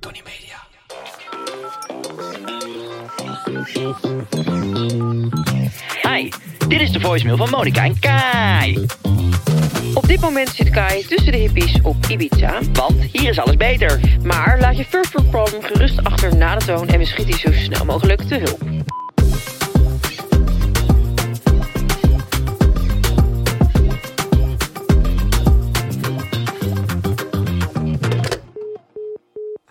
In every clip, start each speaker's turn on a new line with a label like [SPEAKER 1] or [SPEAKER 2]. [SPEAKER 1] Tony Media.
[SPEAKER 2] Hi, dit is de voicemail van Monica en Kai.
[SPEAKER 3] Op dit moment zit Kai tussen de hippies op Ibiza.
[SPEAKER 2] Want hier is alles beter.
[SPEAKER 3] Maar laat je furfur problem gerust achter na de toon en we schieten je zo snel mogelijk te hulp.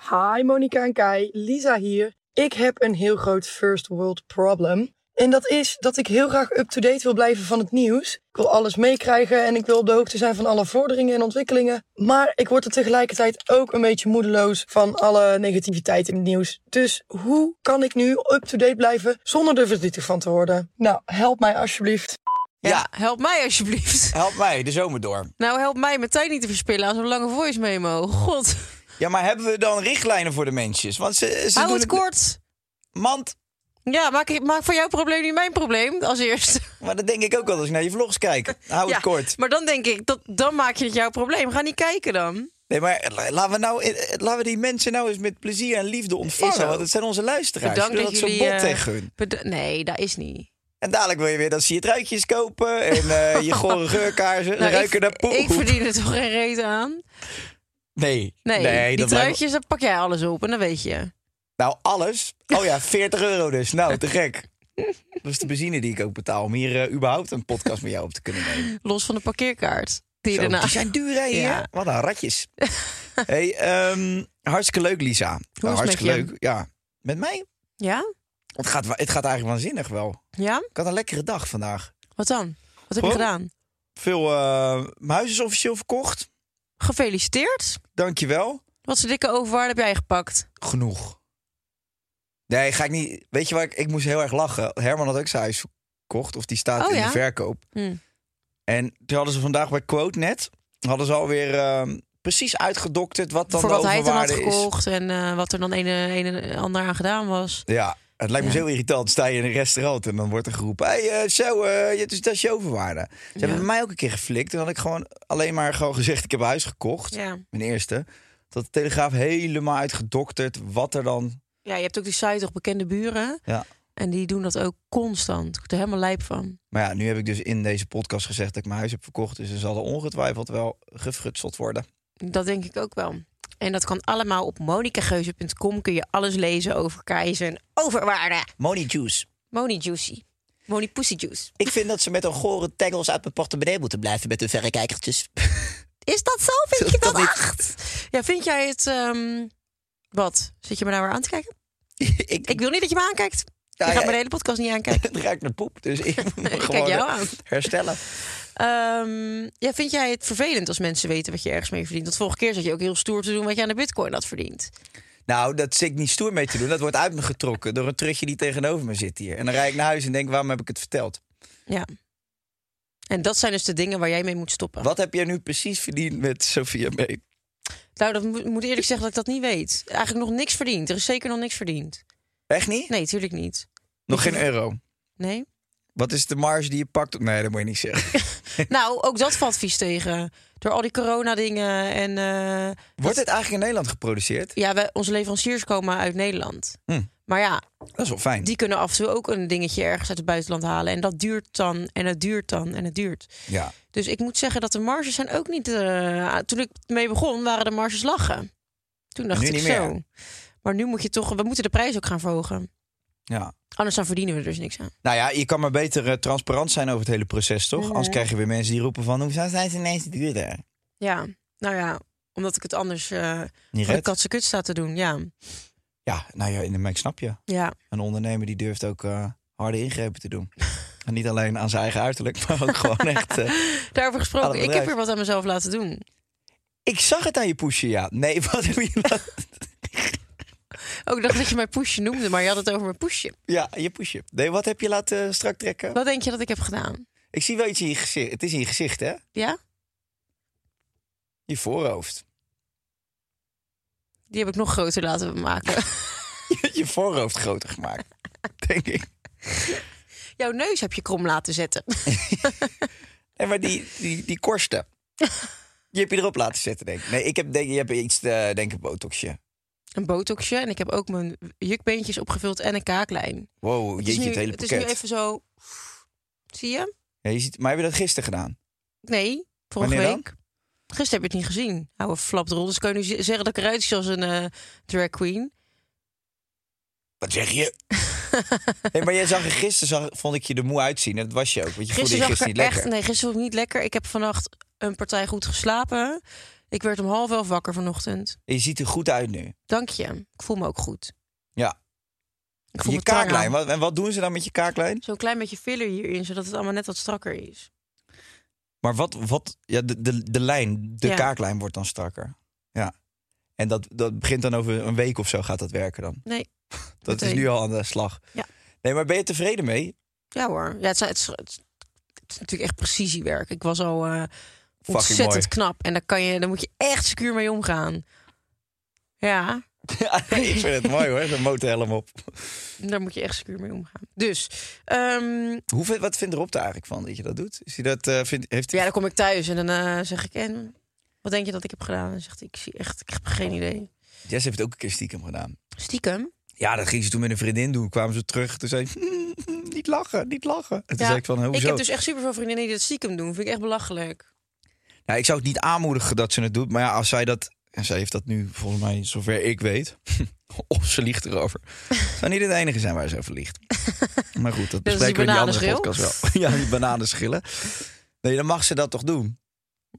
[SPEAKER 4] Hi Monika en Kai, Lisa hier. Ik heb een heel groot first world problem. En dat is dat ik heel graag up-to-date wil blijven van het nieuws. Ik wil alles meekrijgen en ik wil op de hoogte zijn van alle vorderingen en ontwikkelingen. Maar ik word er tegelijkertijd ook een beetje moedeloos van alle negativiteit in het nieuws. Dus hoe kan ik nu up-to-date blijven zonder er verdrietig van te worden? Nou, help mij alsjeblieft.
[SPEAKER 1] Ja.
[SPEAKER 5] Ja, help mij alsjeblieft.
[SPEAKER 1] Help mij de zomer door.
[SPEAKER 5] Nou, help mij mijn tijd niet te verspillen aan zo'n lange voice memo. God,
[SPEAKER 1] Ja, maar hebben we dan richtlijnen voor de mensjes? Want ze, ze
[SPEAKER 5] hou
[SPEAKER 1] doen
[SPEAKER 5] het kort.
[SPEAKER 1] Mand,
[SPEAKER 5] Ja, maak, maak voor jouw probleem niet mijn probleem als eerst.
[SPEAKER 1] maar dat denk ik ook wel als ik naar je vlogs kijk. Hou
[SPEAKER 5] ja,
[SPEAKER 1] het kort.
[SPEAKER 5] Maar dan denk ik, dat, dan maak je het jouw probleem. Ga niet kijken dan.
[SPEAKER 1] Nee, maar la- laten we, nou, eh, laten we die mensen nou eens met plezier en liefde ontvangen.
[SPEAKER 5] zo.
[SPEAKER 1] Want het zijn onze luisteraars.
[SPEAKER 5] Bedankt
[SPEAKER 1] Doe
[SPEAKER 5] dat,
[SPEAKER 1] dat
[SPEAKER 5] jullie...
[SPEAKER 1] zo bot
[SPEAKER 5] eh,
[SPEAKER 1] tegen hun.
[SPEAKER 5] beda- nee, dat is niet.
[SPEAKER 1] En dadelijk wil je weer dat ze je truitjes kopen. En eh, je gore geurkaarsen.
[SPEAKER 5] Nou,
[SPEAKER 1] ruiken
[SPEAKER 5] ik,
[SPEAKER 1] naar poep.
[SPEAKER 5] ik verdien er toch geen reet aan?
[SPEAKER 1] Nee.
[SPEAKER 5] Nee, die
[SPEAKER 1] dat lijkt me-
[SPEAKER 5] truitjes, daar pak jij alles op en dan weet je.
[SPEAKER 1] Nou, alles. Oh ja, 40 euro dus. Nou, te gek. Dat is de benzine die ik ook betaal om hier eh, überhaupt een podcast met jou op te kunnen nemen.
[SPEAKER 5] Los van de parkeerkaart. Die je
[SPEAKER 1] Zo,
[SPEAKER 5] daarna...
[SPEAKER 1] die zijn duur, hè? hier?
[SPEAKER 5] Ja.
[SPEAKER 1] Wat een ratjes. hey, ehm, hartstikke leuk, Lisa. Nou,
[SPEAKER 5] het
[SPEAKER 1] hartstikke
[SPEAKER 5] met je?
[SPEAKER 1] leuk. Ja, met mij?
[SPEAKER 5] Ja?
[SPEAKER 1] Het gaat, wa- het gaat eigenlijk waanzinnig wel.
[SPEAKER 5] Ja?
[SPEAKER 1] Ik had een lekkere dag vandaag.
[SPEAKER 5] Wat dan? Wat heb
[SPEAKER 1] Gewoon-
[SPEAKER 5] je gedaan?
[SPEAKER 1] Veel, eh, mijn huis is officieel verkocht.
[SPEAKER 5] Gefeliciteerd.
[SPEAKER 1] Dankjewel.
[SPEAKER 5] Wat zijn dikke overwaarde heb jij gepakt?
[SPEAKER 1] Genoeg. Nee, ga ik niet. Weet je waar ik, ik moest heel erg lachen? Herman had ook zijn huis verkocht, of die staat
[SPEAKER 5] Oh
[SPEAKER 1] in de
[SPEAKER 5] ja?
[SPEAKER 1] verkoop.
[SPEAKER 5] Hm.
[SPEAKER 1] En toen hadden ze vandaag bij Quote net, hadden ze alweer ehm, precies uitgedokterd wat dan
[SPEAKER 5] Voor
[SPEAKER 1] de
[SPEAKER 5] wat hij dan had
[SPEAKER 1] overwaarde is.
[SPEAKER 5] gekocht en eh, wat er dan een, een en ander aan gedaan was.
[SPEAKER 1] Ja, het lijkt me
[SPEAKER 5] Ja.
[SPEAKER 1] zo irritant. Sta je in een restaurant en dan wordt er geroepen... Hé, hey, eh, zo, eh, je- dus dat is je overwaarde. Ze hebben mij ook een keer geflikt. En had ik gewoon alleen maar gewoon gezegd... ik heb huis gekocht,
[SPEAKER 5] Ja.
[SPEAKER 1] mijn eerste. Dat de Telegraaf helemaal uitgedokterd wat er dan...
[SPEAKER 5] Ja, je hebt ook die site toch bekende buren.
[SPEAKER 1] Ja.
[SPEAKER 5] En die doen dat ook constant. Ik word er helemaal lijp van.
[SPEAKER 1] Maar ja, nu heb ik dus in deze podcast gezegd... dat ik mijn huis heb verkocht. Dus er zal er ongetwijfeld wel gefrutseld worden.
[SPEAKER 5] Dat denk ik ook wel. En dat kan allemaal op monicageuze.com. Kun je alles lezen over keizer en overwaarde.
[SPEAKER 1] Money juice.
[SPEAKER 5] Moni Juicy. Moni Pussy Juice.
[SPEAKER 1] Ik vind dat ze met een gore tangels uit mijn portemonnee moeten blijven... met hun verrekijkertjes.
[SPEAKER 5] Is dat zo? Vind je
[SPEAKER 1] Dat
[SPEAKER 5] dat
[SPEAKER 1] niet.
[SPEAKER 5] echt? Ja, vind jij het... ehm, wat? Zit je me nou weer aan te kijken?
[SPEAKER 1] ik, Nou
[SPEAKER 5] Ik wil niet dat je me aankijkt. Je
[SPEAKER 1] ja,
[SPEAKER 5] gaat mijn hele podcast niet aankijken.
[SPEAKER 1] het ruikt naar poep, dus ik moet me
[SPEAKER 5] Kijk
[SPEAKER 1] gewoon
[SPEAKER 5] jou aan.
[SPEAKER 1] herstellen.
[SPEAKER 5] Ehm, ja, vind jij het vervelend als mensen weten wat je ergens mee verdient? Want vorige keer zat je ook heel stoer te doen wat je aan de bitcoin had verdiend.
[SPEAKER 1] Nou, dat zit ik niet stoer mee te doen. Dat wordt uit me getrokken door een trutje die tegenover me zit hier. En dan rijd ik naar huis en denk, waarom heb ik het verteld?
[SPEAKER 5] Ja. En dat zijn dus de dingen waar jij mee moet stoppen.
[SPEAKER 1] Wat heb jij nu precies verdiend met Sophia mee?
[SPEAKER 5] Nou, dat moet, moet eerlijk zeggen dat ik dat niet weet. Eigenlijk nog niks verdiend. Er is zeker nog niks verdiend.
[SPEAKER 1] Echt niet?
[SPEAKER 5] Nee, tuurlijk niet.
[SPEAKER 1] Nog geen euro.
[SPEAKER 5] Nee?
[SPEAKER 1] Wat is de marge die je pakt? op- Nee, dat moet je niet zeggen.
[SPEAKER 5] nou, ook dat valt vies tegen. Door al die corona-dingen en... eh,
[SPEAKER 1] Wordt dit eigenlijk in Nederland geproduceerd?
[SPEAKER 5] ja, wij, onze leveranciers komen uit Nederland.
[SPEAKER 1] Hm.
[SPEAKER 5] Maar ja,
[SPEAKER 1] Dat is wel fijn.
[SPEAKER 5] die kunnen af en toe ook een dingetje ergens uit het buitenland halen. En dat duurt dan, en het duurt dan, en het duurt.
[SPEAKER 1] Ja.
[SPEAKER 5] Dus ik moet zeggen dat de marges zijn ook niet... eh, toen ik mee begon, waren de marges lachen. Toen dacht
[SPEAKER 1] Nu
[SPEAKER 5] ik
[SPEAKER 1] niet
[SPEAKER 5] zo.
[SPEAKER 1] meer.
[SPEAKER 5] Maar nu moet je toch... We moeten de prijs ook gaan verhogen.
[SPEAKER 1] ja.
[SPEAKER 5] Anders dan verdienen we er dus niks aan.
[SPEAKER 1] Nou ja, je kan maar beter eh, transparant zijn over het hele proces, toch? Anders krijg je weer mensen die roepen van... hoezo zijn ze ineens duurder?
[SPEAKER 5] Ja, nou ja. Omdat ik het anders eh
[SPEAKER 1] Niet
[SPEAKER 5] voor de
[SPEAKER 1] red.
[SPEAKER 5] katse kut sta te doen. Ja,
[SPEAKER 1] Ja, nou ja, maar ik snap je.
[SPEAKER 5] ja.
[SPEAKER 1] Een ondernemer die durft ook eh, harde ingrepen te doen. en niet alleen aan zijn eigen uiterlijk, maar ook gewoon echt... eh,
[SPEAKER 5] Daarover
[SPEAKER 1] Aan
[SPEAKER 5] gesproken,
[SPEAKER 1] het
[SPEAKER 5] ik heb
[SPEAKER 1] bedrijf.
[SPEAKER 5] weer wat aan mezelf laten doen.
[SPEAKER 1] ik zag het aan je poesje, ja. Nee, wat heb je...
[SPEAKER 5] Ook ik dacht dat je mijn poesje noemde, maar je had het over mijn poesje.
[SPEAKER 1] Ja, je poesje. Nee, wat heb je laten eh, strak trekken?
[SPEAKER 5] Wat denk je dat ik heb gedaan?
[SPEAKER 1] Ik zie wel iets in je gezicht. Het is in je gezicht, hè?
[SPEAKER 5] Ja?
[SPEAKER 1] Je voorhoofd.
[SPEAKER 5] Die heb ik nog groter laten maken.
[SPEAKER 1] je voorhoofd groter gemaakt, denk ik.
[SPEAKER 5] Jouw neus heb je krom laten zetten.
[SPEAKER 1] Nee, maar die, die, die korsten. Die heb je erop laten zetten, denk ik. Nee, ik heb, denk, je hebt iets, eh, denk ik, botoxje.
[SPEAKER 5] Een botoxje en ik heb ook mijn jukbeentjes opgevuld en een kaaklijn.
[SPEAKER 1] Wow,
[SPEAKER 5] Het is
[SPEAKER 1] jeetje,
[SPEAKER 5] nu,
[SPEAKER 1] het hele
[SPEAKER 5] het is
[SPEAKER 1] pakket.
[SPEAKER 5] nu even zo... Zie je?
[SPEAKER 1] Ja, je ziet, maar heb je dat gisteren gedaan?
[SPEAKER 5] Nee, vorige
[SPEAKER 1] Wanneer dan?
[SPEAKER 5] week. Gisteren heb je het niet gezien. Oude flapdrol. Dus kan je nu z- zeggen dat ik eruit zie als een eh, drag queen.
[SPEAKER 1] Wat zeg je? nee, maar jij zag er gisteren, zag, vond ik je er moe uitzien. En dat was je ook, want je
[SPEAKER 5] Gisteren
[SPEAKER 1] voelde je
[SPEAKER 5] zag
[SPEAKER 1] gisteren
[SPEAKER 5] ik
[SPEAKER 1] niet
[SPEAKER 5] er echt...
[SPEAKER 1] lekker.
[SPEAKER 5] Nee, gisteren vond ik niet lekker. Ik heb vannacht een partij goed geslapen. Ik werd om half elf wakker vanochtend.
[SPEAKER 1] En Je ziet er goed uit nu.
[SPEAKER 5] Dank je. Ik voel me ook goed.
[SPEAKER 1] Ja.
[SPEAKER 5] Ik voel
[SPEAKER 1] Je
[SPEAKER 5] mijn tang
[SPEAKER 1] kaaklijn.
[SPEAKER 5] aan.
[SPEAKER 1] Wat, en wat doen ze dan met je kaaklijn?
[SPEAKER 5] Zo'n klein beetje filler hierin, zodat het allemaal net wat strakker is.
[SPEAKER 1] Maar wat, wat ja, de, de, de lijn, de
[SPEAKER 5] Ja.
[SPEAKER 1] kaaklijn wordt dan strakker. Ja. En dat, dat begint dan over een week of zo gaat dat werken dan.
[SPEAKER 5] Nee.
[SPEAKER 1] Dat
[SPEAKER 5] Meteen.
[SPEAKER 1] is nu al aan de slag.
[SPEAKER 5] Ja.
[SPEAKER 1] Nee, maar ben je tevreden mee?
[SPEAKER 5] Ja hoor. Ja, het, is- het, is- het is- het is natuurlijk echt precisiewerk. Ik was al eh, ontzettend
[SPEAKER 1] mooi.
[SPEAKER 5] knap. En daar, kan je, daar moet je echt secuur mee omgaan. Ja,
[SPEAKER 1] Ja, ik vind het mooi hoor, zo'n motorhelm op.
[SPEAKER 5] daar moet je echt secuur mee omgaan. Dus, ehm,
[SPEAKER 1] Hoe, vind- wat vindt Rob er eigenlijk van dat je dat doet? Is hij dat, eh vindt, heeft hij...
[SPEAKER 5] ja, dan kom ik thuis en dan eh, zeg ik... En, wat denk je dat ik heb gedaan? En dan zegt hij, ik zie echt, ik heb geen idee.
[SPEAKER 1] Jess heeft het ook een keer stiekem gedaan. Oh,
[SPEAKER 5] Stiekem?
[SPEAKER 1] Ja, dat ging ze toen met een vriendin doen. Kwamen ze terug, toen zei ze, "Mm, mm, niet lachen, niet lachen. En toen
[SPEAKER 5] Ja.
[SPEAKER 1] zei ik van, hoezo?
[SPEAKER 5] Ik heb dus echt superveel vriendinnen die dat stiekem doen. Vind ik echt belachelijk.
[SPEAKER 1] Nou, ik zou het niet aanmoedigen dat ze het doet. Maar ja, als zij dat... En zij heeft dat nu, volgens mij, zover ik weet. of ze liegt erover. zou niet het enige zijn waar ze over liegt. maar goed, dat
[SPEAKER 5] die
[SPEAKER 1] bespreken we in die andere
[SPEAKER 5] bananenschil.
[SPEAKER 1] podcast wel. ja, die bananenschillen. Nee, dan mag ze dat toch doen.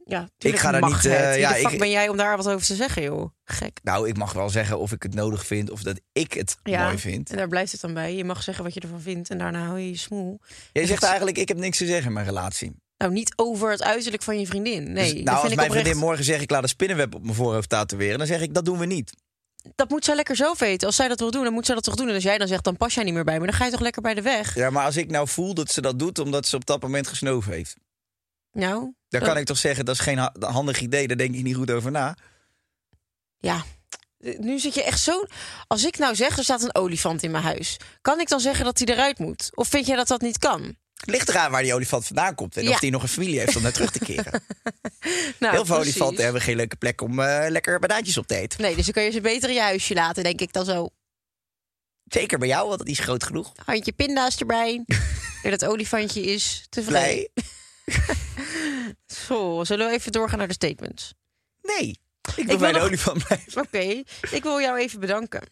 [SPEAKER 5] Ja,
[SPEAKER 1] tuurlijk ga daar mag niet, het. eh, Wie de ja,
[SPEAKER 5] ja,
[SPEAKER 1] fuck ik-
[SPEAKER 5] ben jij om daar wat over te zeggen, joh? Gek.
[SPEAKER 1] Nou, ik mag wel zeggen of ik het nodig vind of dat ik het mooi vind.
[SPEAKER 5] En daar blijft het dan bij. Je mag zeggen wat je ervan vindt en daarna hou je je smoel.
[SPEAKER 1] Jij zegt eigenlijk, ik heb niks te zeggen in mijn relatie.
[SPEAKER 5] Nou, niet over het uiterlijk van je vriendin. Nee, dat
[SPEAKER 1] Dus, nou,
[SPEAKER 5] vind
[SPEAKER 1] als
[SPEAKER 5] ik
[SPEAKER 1] mijn
[SPEAKER 5] oprecht-
[SPEAKER 1] vriendin morgen zegt, ik laat een spinnenweb op mijn voorhoofd tatoeëren... dan zeg ik, dat doen we niet.
[SPEAKER 5] Dat moet zij lekker zelf weten. Als zij dat wil doen, dan moet zij dat toch doen. En als jij dan zegt, dan pas jij niet meer bij me. Dan ga je toch lekker bij de weg?
[SPEAKER 1] Ja, maar als ik nou voel dat ze dat doet omdat ze op dat moment gesnoven heeft...
[SPEAKER 5] Nou,
[SPEAKER 1] dan
[SPEAKER 5] dat-
[SPEAKER 1] kan ik toch zeggen, dat is geen ha- handig idee. Daar denk ik niet goed over na.
[SPEAKER 5] Ja. Nu zit je echt zo... Als ik nou zeg, er staat een olifant in mijn huis. Kan ik dan zeggen dat hij eruit moet? Of vind jij dat dat niet kan?
[SPEAKER 1] Het ligt eraan waar die olifant vandaan komt. En
[SPEAKER 5] Ja.
[SPEAKER 1] of die nog een familie heeft om naar terug te keren.
[SPEAKER 5] Nou,
[SPEAKER 1] Heel veel
[SPEAKER 5] precies.
[SPEAKER 1] olifanten hebben geen leuke plek om eh, lekker banaantjes op te eten.
[SPEAKER 5] Nee, dus dan kun je ze beter in je huisje laten, denk ik dan zo.
[SPEAKER 1] Zeker bij jou, want die is groot genoeg.
[SPEAKER 5] handje pinda's erbij. en dat olifantje is tevreden.
[SPEAKER 1] Blij?
[SPEAKER 5] Zo, zullen we even doorgaan naar de statements?
[SPEAKER 1] Nee. Ik wil
[SPEAKER 5] wil
[SPEAKER 1] bij de
[SPEAKER 5] nog-
[SPEAKER 1] olifant blijven.
[SPEAKER 5] Oké, ik wil jou even bedanken.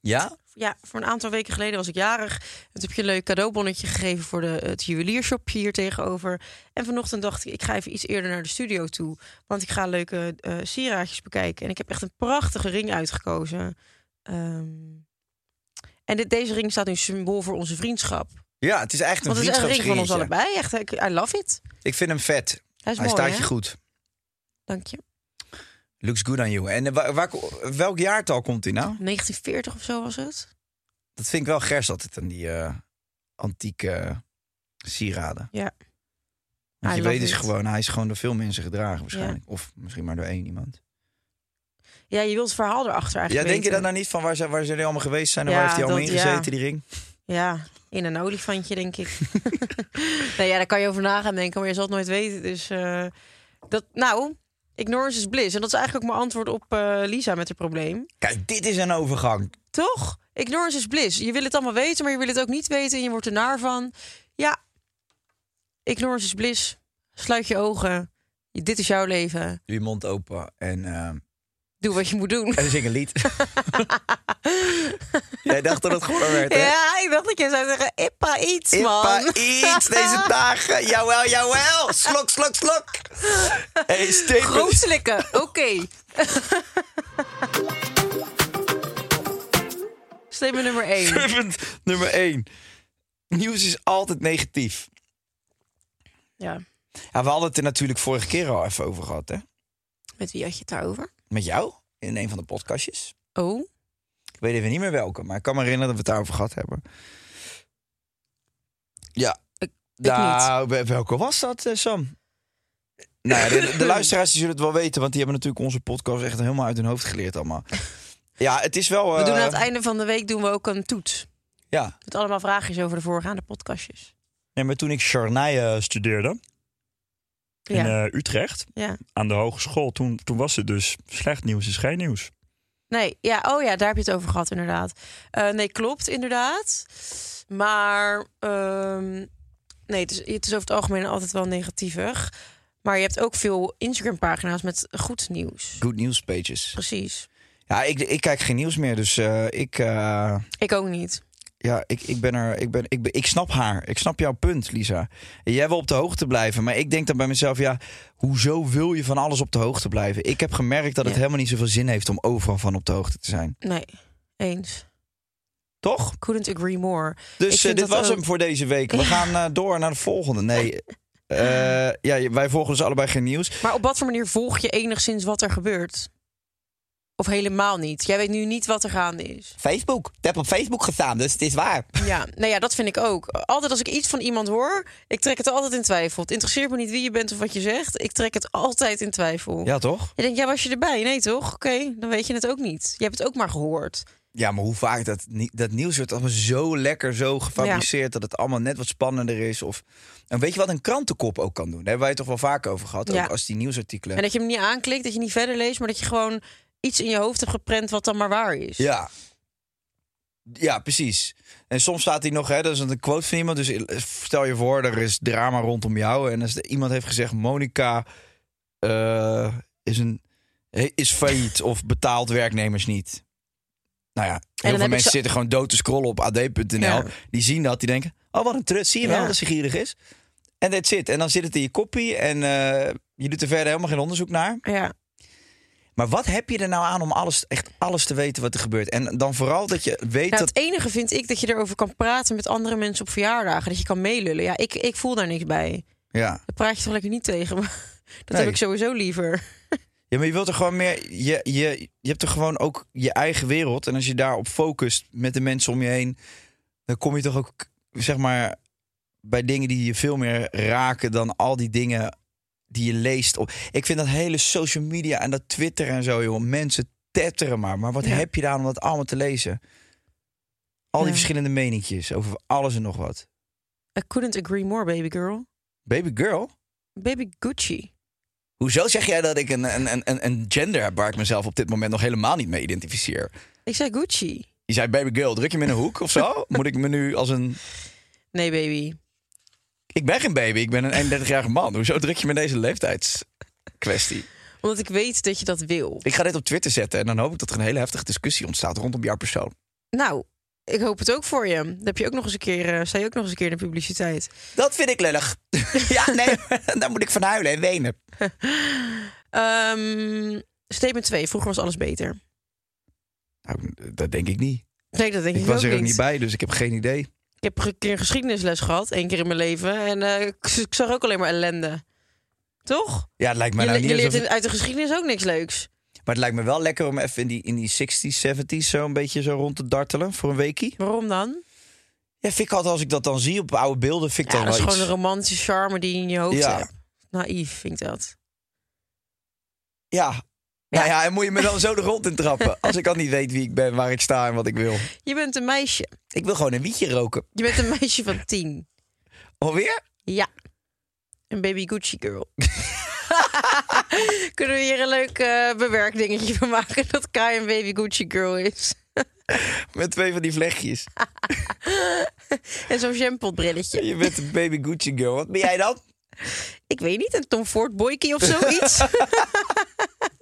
[SPEAKER 1] Ja?
[SPEAKER 5] Ja, voor een aantal weken geleden was ik jarig. En toen heb je een leuk cadeaubonnetje gegeven voor de, het juweliershopje hier tegenover. En vanochtend dacht ik, ik ga even iets eerder naar de studio toe. Want ik ga leuke eh, sieraadjes bekijken. En ik heb echt een prachtige ring uitgekozen. Ehm, en dit, deze ring staat nu symbool voor onze vriendschap.
[SPEAKER 1] Ja, het is echt een
[SPEAKER 5] Want het is echt een ring van ons
[SPEAKER 1] vriendschapsringetje.
[SPEAKER 5] allebei. Echt, ik- I love it.
[SPEAKER 1] Ik vind hem vet.
[SPEAKER 5] Hij is
[SPEAKER 1] Hij
[SPEAKER 5] mooi,
[SPEAKER 1] staat
[SPEAKER 5] hè?
[SPEAKER 1] je goed.
[SPEAKER 5] Dank je.
[SPEAKER 1] Looks good on you. En eh, wa- waar, welk jaartal komt hij nou?
[SPEAKER 5] 1940 of zo was het.
[SPEAKER 1] Dat vind ik wel gers altijd aan die eh, antieke eh, sieraden.
[SPEAKER 5] Ja.
[SPEAKER 1] Want
[SPEAKER 5] I
[SPEAKER 1] je
[SPEAKER 5] love
[SPEAKER 1] weet dus
[SPEAKER 5] it.
[SPEAKER 1] gewoon, hij is gewoon door veel mensen gedragen waarschijnlijk. Of misschien maar door één iemand.
[SPEAKER 5] Ja, je wilt het verhaal erachter
[SPEAKER 1] Ja,
[SPEAKER 5] eigenlijk
[SPEAKER 1] denk je
[SPEAKER 5] weten.
[SPEAKER 1] dan nou niet van waar ze, waar ze nu allemaal geweest zijn en
[SPEAKER 5] Ja,
[SPEAKER 1] waar heeft hij allemaal
[SPEAKER 5] dat-
[SPEAKER 1] ingezeten,
[SPEAKER 5] ja.
[SPEAKER 1] die ring?
[SPEAKER 5] Ja, in een olifantje, denk ik. nou ja, daar kan je over na gaan denken, maar je zal het nooit weten. Dus eh, dat, nou, ignorance is bliss. En dat is eigenlijk ook mijn antwoord op eh, Lisa met het probleem.
[SPEAKER 1] Kijk, dit is een overgang.
[SPEAKER 5] Toch? Ignorance is bliss. Je wil het allemaal weten, maar je wil het ook niet weten en je wordt er naar van. Ja, ignorance is bliss. Sluit je ogen. Je- Dit is jouw leven.
[SPEAKER 1] Doe je mond open en, eh, en
[SPEAKER 5] Doe wat je moet doen.
[SPEAKER 1] dan zing een lied. Jij dacht dat het gewoon werd, hè?
[SPEAKER 5] Ja, ik dacht dat jij zou zeggen, Ippa iets, man.
[SPEAKER 1] Ippa iets deze dagen. Jawel, jawel. Slok, slok, slok. Hey, Steven.
[SPEAKER 5] Groot slikken, oké. Statement nummer 1.
[SPEAKER 1] Servant nummer 1. Nieuws is altijd negatief.
[SPEAKER 5] Ja.
[SPEAKER 1] Ja, we hadden het er natuurlijk vorige keer al even over gehad, hè?
[SPEAKER 5] Met wie had je het daarover?
[SPEAKER 1] Met jou in een van de podcastjes.
[SPEAKER 5] Oh,
[SPEAKER 1] Ik weet even niet meer welke, maar ik kan me herinneren dat we het daarover gehad hebben. Ja.
[SPEAKER 5] Ik- ik
[SPEAKER 1] nou, wel- welke was dat, eh, Sam? Nou, ja, de, de luisteraars die zullen het wel weten, want die hebben natuurlijk onze podcast echt helemaal uit hun hoofd geleerd allemaal. Ja, het is wel.
[SPEAKER 5] we doen
[SPEAKER 1] eh,
[SPEAKER 5] aan het einde van de week doen we ook een toets.
[SPEAKER 1] Ja.
[SPEAKER 5] Met allemaal vraagjes over de voorgaande podcastjes.
[SPEAKER 1] Nee, maar toen ik Charnay eh, studeerde in
[SPEAKER 5] Ja,
[SPEAKER 1] eh, Utrecht
[SPEAKER 5] ja.
[SPEAKER 1] aan de hogeschool, toen, toen was het dus slecht nieuws is geen nieuws.
[SPEAKER 5] Nee, ja, oh ja, daar heb je het over gehad, inderdaad. Eh, nee, klopt, inderdaad. Maar ehm, nee, het is, het is over het algemeen altijd wel negatievig. Maar je hebt ook veel Instagram-pagina's met goed nieuws.
[SPEAKER 1] Good news pages.
[SPEAKER 5] Precies.
[SPEAKER 1] Ja, ik, ik kijk geen nieuws meer, dus eh, ik, eh,
[SPEAKER 5] Ik ook niet.
[SPEAKER 1] ja, ik, ik ben er. Ik, ben, ik, ben- ik snap haar. Ik snap jouw punt, Lisa. Jij wil op de hoogte blijven, maar ik denk dan bij mezelf, ja, hoezo wil je van alles op de hoogte blijven? Ik heb gemerkt dat het
[SPEAKER 5] Ja.
[SPEAKER 1] helemaal niet zoveel zin heeft om overal van op de hoogte te zijn.
[SPEAKER 5] Nee, eens.
[SPEAKER 1] Toch?
[SPEAKER 5] Couldn't agree more. Ik
[SPEAKER 1] Dus eh,
[SPEAKER 5] vind
[SPEAKER 1] dit
[SPEAKER 5] dat
[SPEAKER 1] was
[SPEAKER 5] ook-
[SPEAKER 1] hem voor deze week. We gaan eh, door naar de volgende. Nee. eh, ja, wij volgen dus allebei geen nieuws.
[SPEAKER 5] Maar op wat voor manier volg je enigszins wat er gebeurt? Of helemaal niet? Jij weet nu niet wat er gaande is.
[SPEAKER 1] Facebook. Ik heb op Facebook gestaan, dus het is waar.
[SPEAKER 5] Ja, nou ja, dat vind ik ook. Altijd als ik iets van iemand hoor, ik trek het altijd in twijfel. Het interesseert me niet wie je bent of wat je zegt. Ik trek het altijd in twijfel.
[SPEAKER 1] Ja, toch?
[SPEAKER 5] Je denkt, ja, was je erbij? Nee, toch? Oké, dan weet je het ook niet. Je hebt het ook maar gehoord.
[SPEAKER 1] Ja, maar hoe vaak dat, nie- dat nieuws wordt allemaal zo lekker, zo gefabriceerd... dat het allemaal net wat spannender is. Of... En weet je wat een krantenkop ook kan doen? Daar hebben wij het toch wel vaak over gehad,
[SPEAKER 5] Ja.
[SPEAKER 1] ook als die nieuwsartikelen...
[SPEAKER 5] En dat je hem niet aanklikt, dat je niet verder leest, maar dat je gewoon iets in je hoofd hebt geprent wat dan maar waar is.
[SPEAKER 1] Ja. Ja, precies. En soms staat hij nog, hè, dat is een quote van iemand. Dus stel je voor, er is drama rondom jou. En als de- iemand heeft gezegd, Monica eh, is, een, is failliet of betaalt werknemers niet. Nou ja, heel
[SPEAKER 5] heb
[SPEAKER 1] veel
[SPEAKER 5] ik
[SPEAKER 1] mensen
[SPEAKER 5] zo-
[SPEAKER 1] zitten gewoon dood te scrollen op ad.nl.
[SPEAKER 5] Ja.
[SPEAKER 1] Die zien dat, die denken, oh wat een trut, zie je wel
[SPEAKER 5] Ja.
[SPEAKER 1] dat ze gierig is. En dat zit. En dan zit het in je kopie en eh, je doet er verder helemaal geen onderzoek naar.
[SPEAKER 5] Ja.
[SPEAKER 1] Maar wat heb je er nou aan om alles, echt alles te weten wat er gebeurt? En dan vooral dat je weet
[SPEAKER 5] Nou,
[SPEAKER 1] dat...
[SPEAKER 5] het enige vind ik dat je erover kan praten met andere mensen op verjaardagen. Dat je kan meelullen. Ja, ik, ik voel daar niks bij.
[SPEAKER 1] Ja.
[SPEAKER 5] Dat praat je toch lekker niet tegen me. Dat
[SPEAKER 1] Nee.
[SPEAKER 5] heb ik sowieso liever.
[SPEAKER 1] ja, maar je wilt er gewoon meer... Je, je, je hebt er gewoon ook je eigen wereld. En als je daarop focust met de mensen om je heen... dan kom je toch ook, zeg maar, bij dingen die je veel meer raken... dan al die dingen die je leest. Op. Ik vind dat hele social media en dat Twitter en zo, joh. Mensen tetteren maar. Maar wat
[SPEAKER 5] Ja.
[SPEAKER 1] heb je daar om dat allemaal te lezen? Al die
[SPEAKER 5] Ja.
[SPEAKER 1] verschillende meninkjes over alles en nog wat.
[SPEAKER 5] I couldn't agree more, baby girl.
[SPEAKER 1] Baby girl...
[SPEAKER 5] Baby Gucci.
[SPEAKER 1] Hoezo zeg jij dat ik een, een, een- een, een gender heb waar ik mezelf op dit moment nog helemaal niet mee identificeer?
[SPEAKER 5] Ik zei Gucci.
[SPEAKER 1] Je zei baby girl, druk je me in een hoek of zo? Moet ik me nu als een...
[SPEAKER 5] Nee, baby.
[SPEAKER 1] Ik ben geen baby, ik ben een 31-jarige man. Hoezo druk je me in deze leeftijdskwestie?
[SPEAKER 5] Omdat ik weet dat je dat wil.
[SPEAKER 1] Ik ga dit op Twitter zetten en dan hoop ik dat er een hele heftige discussie ontstaat rondom jouw persoon.
[SPEAKER 5] Nou, ik hoop het ook voor je. Dat heb je ook nog eens een keer, eh, zei je ook nog eens een keer in de publiciteit.
[SPEAKER 1] Dat vind ik lullig. ja, nee, daar moet ik van huilen en wenen.
[SPEAKER 5] Ehm, statement 2. Vroeger was alles beter.
[SPEAKER 1] Nou, dat denk ik niet.
[SPEAKER 5] Nee, dat denk ik,
[SPEAKER 1] Ik was
[SPEAKER 5] ook
[SPEAKER 1] er ook
[SPEAKER 5] niet.
[SPEAKER 1] niet bij, dus ik heb geen idee.
[SPEAKER 5] Ik heb een keer een geschiedenisles gehad, één keer in mijn leven. En eh, ik, ik zag ook alleen maar ellende. Toch?
[SPEAKER 1] Ja, het lijkt mij
[SPEAKER 5] je,
[SPEAKER 1] nou
[SPEAKER 5] le-
[SPEAKER 1] niet
[SPEAKER 5] je leert
[SPEAKER 1] alsof het-
[SPEAKER 5] in- uit de geschiedenis ook niks leuks.
[SPEAKER 1] Maar het lijkt me wel lekker om even in die, in die 60s, 70s zo een beetje zo rond te dartelen voor een weekie.
[SPEAKER 5] Waarom dan?
[SPEAKER 1] Ja, vind ik altijd als ik dat dan zie op oude beelden, vind ik
[SPEAKER 5] Ja,
[SPEAKER 1] dan
[SPEAKER 5] dat is
[SPEAKER 1] wel
[SPEAKER 5] gewoon
[SPEAKER 1] iets.
[SPEAKER 5] een romantische charme die je in je hoofd
[SPEAKER 1] Ja.
[SPEAKER 5] hebt. Naïef, vind ik dat.
[SPEAKER 1] Ja. Nou ja, en moet je me dan zo de grond in trappen. Als ik al niet weet wie ik ben, waar ik sta en wat ik wil.
[SPEAKER 5] Je bent een meisje.
[SPEAKER 1] Ik wil gewoon een wietje roken.
[SPEAKER 5] Je bent een meisje van tien.
[SPEAKER 1] Alweer?
[SPEAKER 5] Ja. Een baby Gucci girl. Kunnen we hier een leuk eh, bewerkdingetje van maken dat Kai een baby Gucci girl is?
[SPEAKER 1] Met twee van die vlechtjes.
[SPEAKER 5] En zo'n jampotbrilletje.
[SPEAKER 1] Je bent een baby Gucci girl. Wat ben jij dan?
[SPEAKER 5] Ik weet niet, een Tom Ford boykie of zoiets.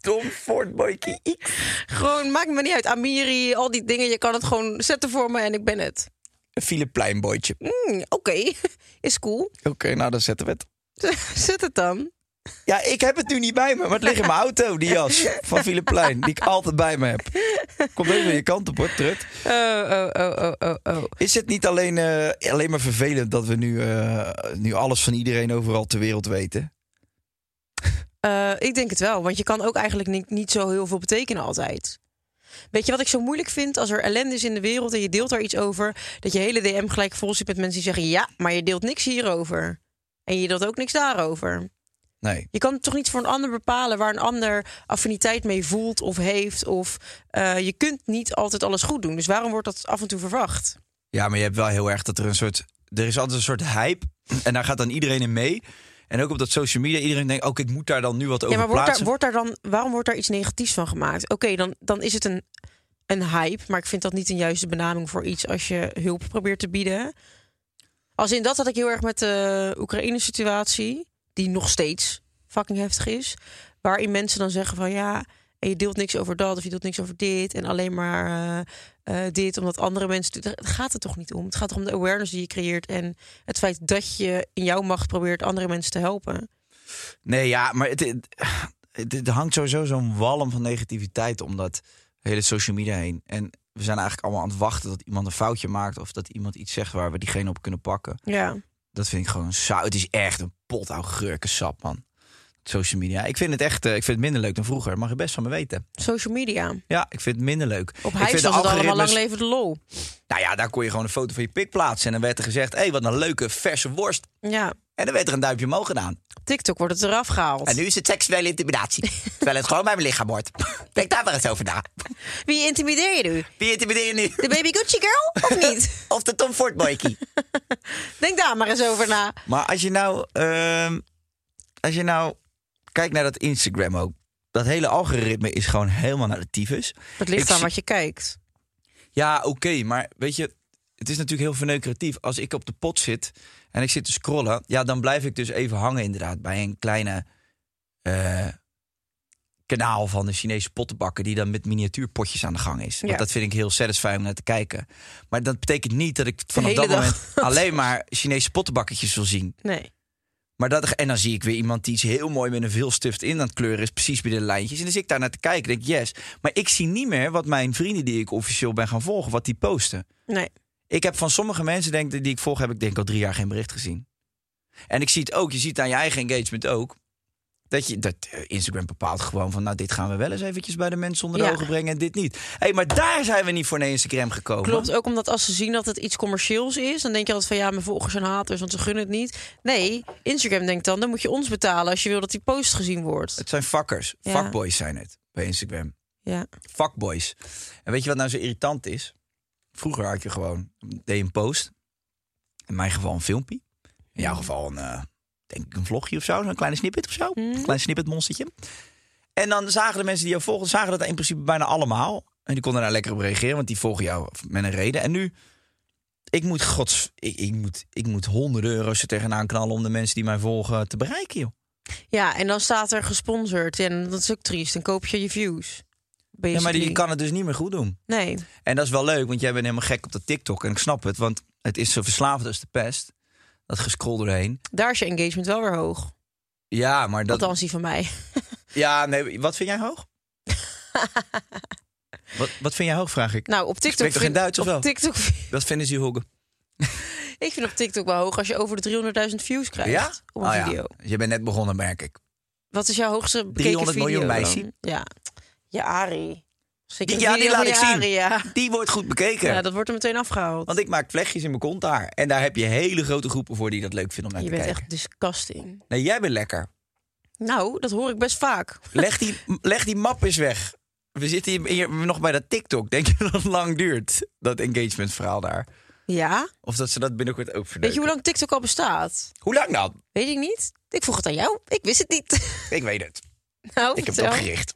[SPEAKER 1] Tom Ford Boykie X.
[SPEAKER 5] gewoon, maakt me niet uit. Amiri, al die dingen. Je kan het gewoon zetten voor me en ik ben het.
[SPEAKER 1] Een Filipijn boytje. Oké,
[SPEAKER 5] Hm, Oké, is cool.
[SPEAKER 1] nou dan zetten we het.
[SPEAKER 5] Zet het dan.
[SPEAKER 1] Ja, ik heb het nu niet bij me, maar het ligt in mijn auto, die jas van Filipijn, die ik altijd bij me heb. Komt even je kant op hoor, trut.
[SPEAKER 5] Oh, oh, oh, oh, oh, oh.
[SPEAKER 1] Is het niet alleen, eh, alleen maar vervelend dat we nu, eh, nu alles van iedereen overal ter wereld weten?
[SPEAKER 5] Eh, ik denk het wel, want je kan ook eigenlijk niet, niet zo heel veel betekenen altijd. Weet je wat ik zo moeilijk vind? Als er ellende is in de wereld en je deelt daar iets over... dat je hele DM gelijk vol zit met mensen die zeggen... ja, maar je deelt niks hierover. En je deelt ook niks daarover.
[SPEAKER 1] Nee.
[SPEAKER 5] Je kan toch niet voor een ander bepalen... waar een ander affiniteit mee voelt of heeft. Of eh, je kunt niet altijd alles goed doen. Dus waarom wordt dat af en toe verwacht?
[SPEAKER 1] Ja, maar je hebt wel heel erg dat er een soort. Er is altijd een soort hype. En daar gaat dan iedereen in mee. En ook op dat social media, iedereen denkt: oké, ik moet daar dan nu wat
[SPEAKER 5] Ja,
[SPEAKER 1] over
[SPEAKER 5] maar wordt daar,
[SPEAKER 1] plaatsen.
[SPEAKER 5] wordt daar dan, waarom wordt daar iets negatiefs van gemaakt? Oké, dan, dan is het een, een hype, maar ik vind dat niet een juiste benaming voor iets als je hulp probeert te bieden. Als in dat had ik heel erg met de Oekraïne-situatie, die nog steeds fucking heftig is, waarin mensen dan zeggen van ja, en je deelt niks over dat of je deelt niks over dit en alleen maar eh, eh, dit omdat andere mensen. het doen. Daar gaat het toch niet om? Het gaat toch om de awareness die je creëert en het feit dat je in jouw macht probeert andere mensen te helpen.
[SPEAKER 1] Nee, ja, maar het, het, het hangt sowieso zo'n walm van negativiteit om dat hele social media heen. En we zijn eigenlijk allemaal aan het wachten dat iemand een foutje maakt. of dat iemand iets zegt waar we diegene op kunnen pakken.
[SPEAKER 5] Ja.
[SPEAKER 1] Dat vind ik gewoon saai. Het is echt een pot oude gurkensap, man. Social media. Ik vind het echt eh, ik vind het minder leuk dan vroeger. Mag je best van me weten.
[SPEAKER 5] Social media.
[SPEAKER 1] Ja, ik vind het minder leuk.
[SPEAKER 5] Op
[SPEAKER 1] ik
[SPEAKER 5] hij
[SPEAKER 1] vind
[SPEAKER 5] was
[SPEAKER 1] de
[SPEAKER 5] het allemaal lang
[SPEAKER 1] algoritmes-
[SPEAKER 5] leven de lol.
[SPEAKER 1] Nou ja, daar kon je gewoon een foto van je pik plaatsen. En dan werd er gezegd, hé, hey, wat een leuke verse worst.
[SPEAKER 5] Ja,
[SPEAKER 1] En dan werd er een duimpje omhoog gedaan.
[SPEAKER 5] op TikTok wordt het eraf gehaald.
[SPEAKER 1] En nu is het seksuele intimidatie. Terwijl het gewoon bij mijn lichaam hoort. Denk daar maar eens over na.
[SPEAKER 5] Wie intimideer je nu?
[SPEAKER 1] Wie intimideer je nu?
[SPEAKER 5] De baby Gucci girl of niet?
[SPEAKER 1] Of de Tom Ford boykie?
[SPEAKER 5] Denk daar maar eens over na.
[SPEAKER 1] Maar als je nou... ehm, als je nou... Kijk naar dat Instagram ook. Dat hele algoritme is gewoon helemaal naar de tyfus.
[SPEAKER 5] Het ligt
[SPEAKER 1] Ik
[SPEAKER 5] aan
[SPEAKER 1] zie-
[SPEAKER 5] wat je kijkt.
[SPEAKER 1] Ja, oké, maar weet je, het is natuurlijk heel verneukeratief. Als ik op de pot zit en ik zit te scrollen, ja, dan blijf ik dus even hangen inderdaad bij een kleine eh, kanaal van de Chinese pottenbakker die dan met miniatuurpotjes aan de gang is. Want
[SPEAKER 5] Ja.
[SPEAKER 1] dat vind ik heel satisfying om naar te kijken. Maar dat betekent niet dat ik vanaf
[SPEAKER 5] hele
[SPEAKER 1] dat
[SPEAKER 5] dag.
[SPEAKER 1] moment alleen maar Chinese pottenbakkertjes wil zien.
[SPEAKER 5] Nee.
[SPEAKER 1] Maar dat, en dan zie ik weer iemand die iets heel mooi met een veelstift in aan het kleuren is, precies bij de lijntjes. En dan zit ik daar naar te kijken denk ik, yes. Maar ik zie niet meer wat mijn vrienden die ik officieel ben gaan volgen, wat die posten.
[SPEAKER 5] Nee.
[SPEAKER 1] Ik heb van sommige mensen denk, ik, die ik volg, heb ik denk ik al drie jaar geen bericht gezien. En ik zie het ook, je ziet aan je eigen engagement ook. Dat, je, dat eh, Instagram bepaalt gewoon van, nou dit gaan we wel eens eventjes bij de mensen onder de
[SPEAKER 5] Ja.
[SPEAKER 1] ogen brengen en dit niet. Hé, hey, maar daar zijn we niet voor naar Instagram gekomen.
[SPEAKER 5] Klopt ook omdat als ze zien dat het iets commercieels is, dan denk je altijd van ja, mijn volgers zijn haters, want ze gunnen het niet. Nee, Instagram denkt dan, dan moet je ons betalen als je wil dat die post gezien wordt.
[SPEAKER 1] Het zijn fuckers,
[SPEAKER 5] Ja.
[SPEAKER 1] fuckboys zijn het bij Instagram.
[SPEAKER 5] Ja.
[SPEAKER 1] fuckboys. En weet je wat nou zo irritant is? Vroeger had je gewoon, deed je een post. In mijn geval een filmpje. In jouw geval een, eh, denk ik een vlogje of zo. Een kleine snippet of zo. Een klein snippet monstertje. En dan zagen de mensen die jou volgen, zagen dat in principe bijna allemaal. En die konden daar lekker op reageren, want die volgen jou met een reden. En nu, ik moet, gods, ik, ik moet, ik moet honderden euro's er tegenaan knallen om de mensen die mij volgen te bereiken, joh.
[SPEAKER 5] ja, en dan staat er gesponsord en dat is ook triest. Dan koop je je views.
[SPEAKER 1] Ja, maar
[SPEAKER 5] basically.
[SPEAKER 1] die kan het dus niet meer goed doen.
[SPEAKER 5] Nee,
[SPEAKER 1] En dat is wel leuk, want jij bent helemaal gek op dat TikTok. En ik snap het, want het is zo verslavend als de pest. Dat gescroll doorheen.
[SPEAKER 5] daar is je engagement wel weer hoog.
[SPEAKER 1] Ja, maar dat...
[SPEAKER 5] Althans, die van mij.
[SPEAKER 1] Ja, nee, wat vind jij hoog? wat, wat vind jij hoog, vraag ik.
[SPEAKER 5] Nou, op TikTok.
[SPEAKER 1] spreek toch geen Duits, of
[SPEAKER 5] op
[SPEAKER 1] wel?
[SPEAKER 5] TikTok
[SPEAKER 1] Dat vinden ze hoog.
[SPEAKER 5] Ik vind op TikTok wel hoog als je over de 300.000 views krijgt
[SPEAKER 1] Ja?
[SPEAKER 5] op een
[SPEAKER 1] Ah, ja.
[SPEAKER 5] video.
[SPEAKER 1] Je bent net begonnen, merk ik.
[SPEAKER 5] Wat is jouw hoogste bekeken
[SPEAKER 1] 300
[SPEAKER 5] video?
[SPEAKER 1] miljoen,
[SPEAKER 5] dan?
[SPEAKER 1] meisje.
[SPEAKER 5] Ja. Ja, Ari. Zeker
[SPEAKER 1] Die-
[SPEAKER 5] een
[SPEAKER 1] ja, die
[SPEAKER 5] video van
[SPEAKER 1] laat ik
[SPEAKER 5] je
[SPEAKER 1] zien.
[SPEAKER 5] Ari, ja.
[SPEAKER 1] Die wordt goed bekeken.
[SPEAKER 5] Ja, dat wordt er meteen afgehaald.
[SPEAKER 1] Want ik maak vlechtjes in mijn kont daar. En daar heb je hele grote groepen voor die dat leuk vinden om
[SPEAKER 5] je
[SPEAKER 1] naar te
[SPEAKER 5] bent
[SPEAKER 1] kijken.
[SPEAKER 5] echt disgusting.
[SPEAKER 1] Nee, jij bent lekker.
[SPEAKER 5] Nou, dat hoor ik best vaak.
[SPEAKER 1] Leg die, leg die map eens weg. We zitten hier, hier nog bij dat TikTok. Denk je dat het lang duurt, dat engagement verhaal daar?
[SPEAKER 5] Ja?
[SPEAKER 1] Of dat ze dat binnenkort ook verdelen.
[SPEAKER 5] Weet je hoe lang TikTok al bestaat?
[SPEAKER 1] Hoe lang dan?
[SPEAKER 5] Weet ik niet. Ik vroeg het aan jou. Ik wist het niet.
[SPEAKER 1] Ik weet het.
[SPEAKER 5] nou,
[SPEAKER 1] Ik heb het
[SPEAKER 5] vertel.
[SPEAKER 1] opgericht.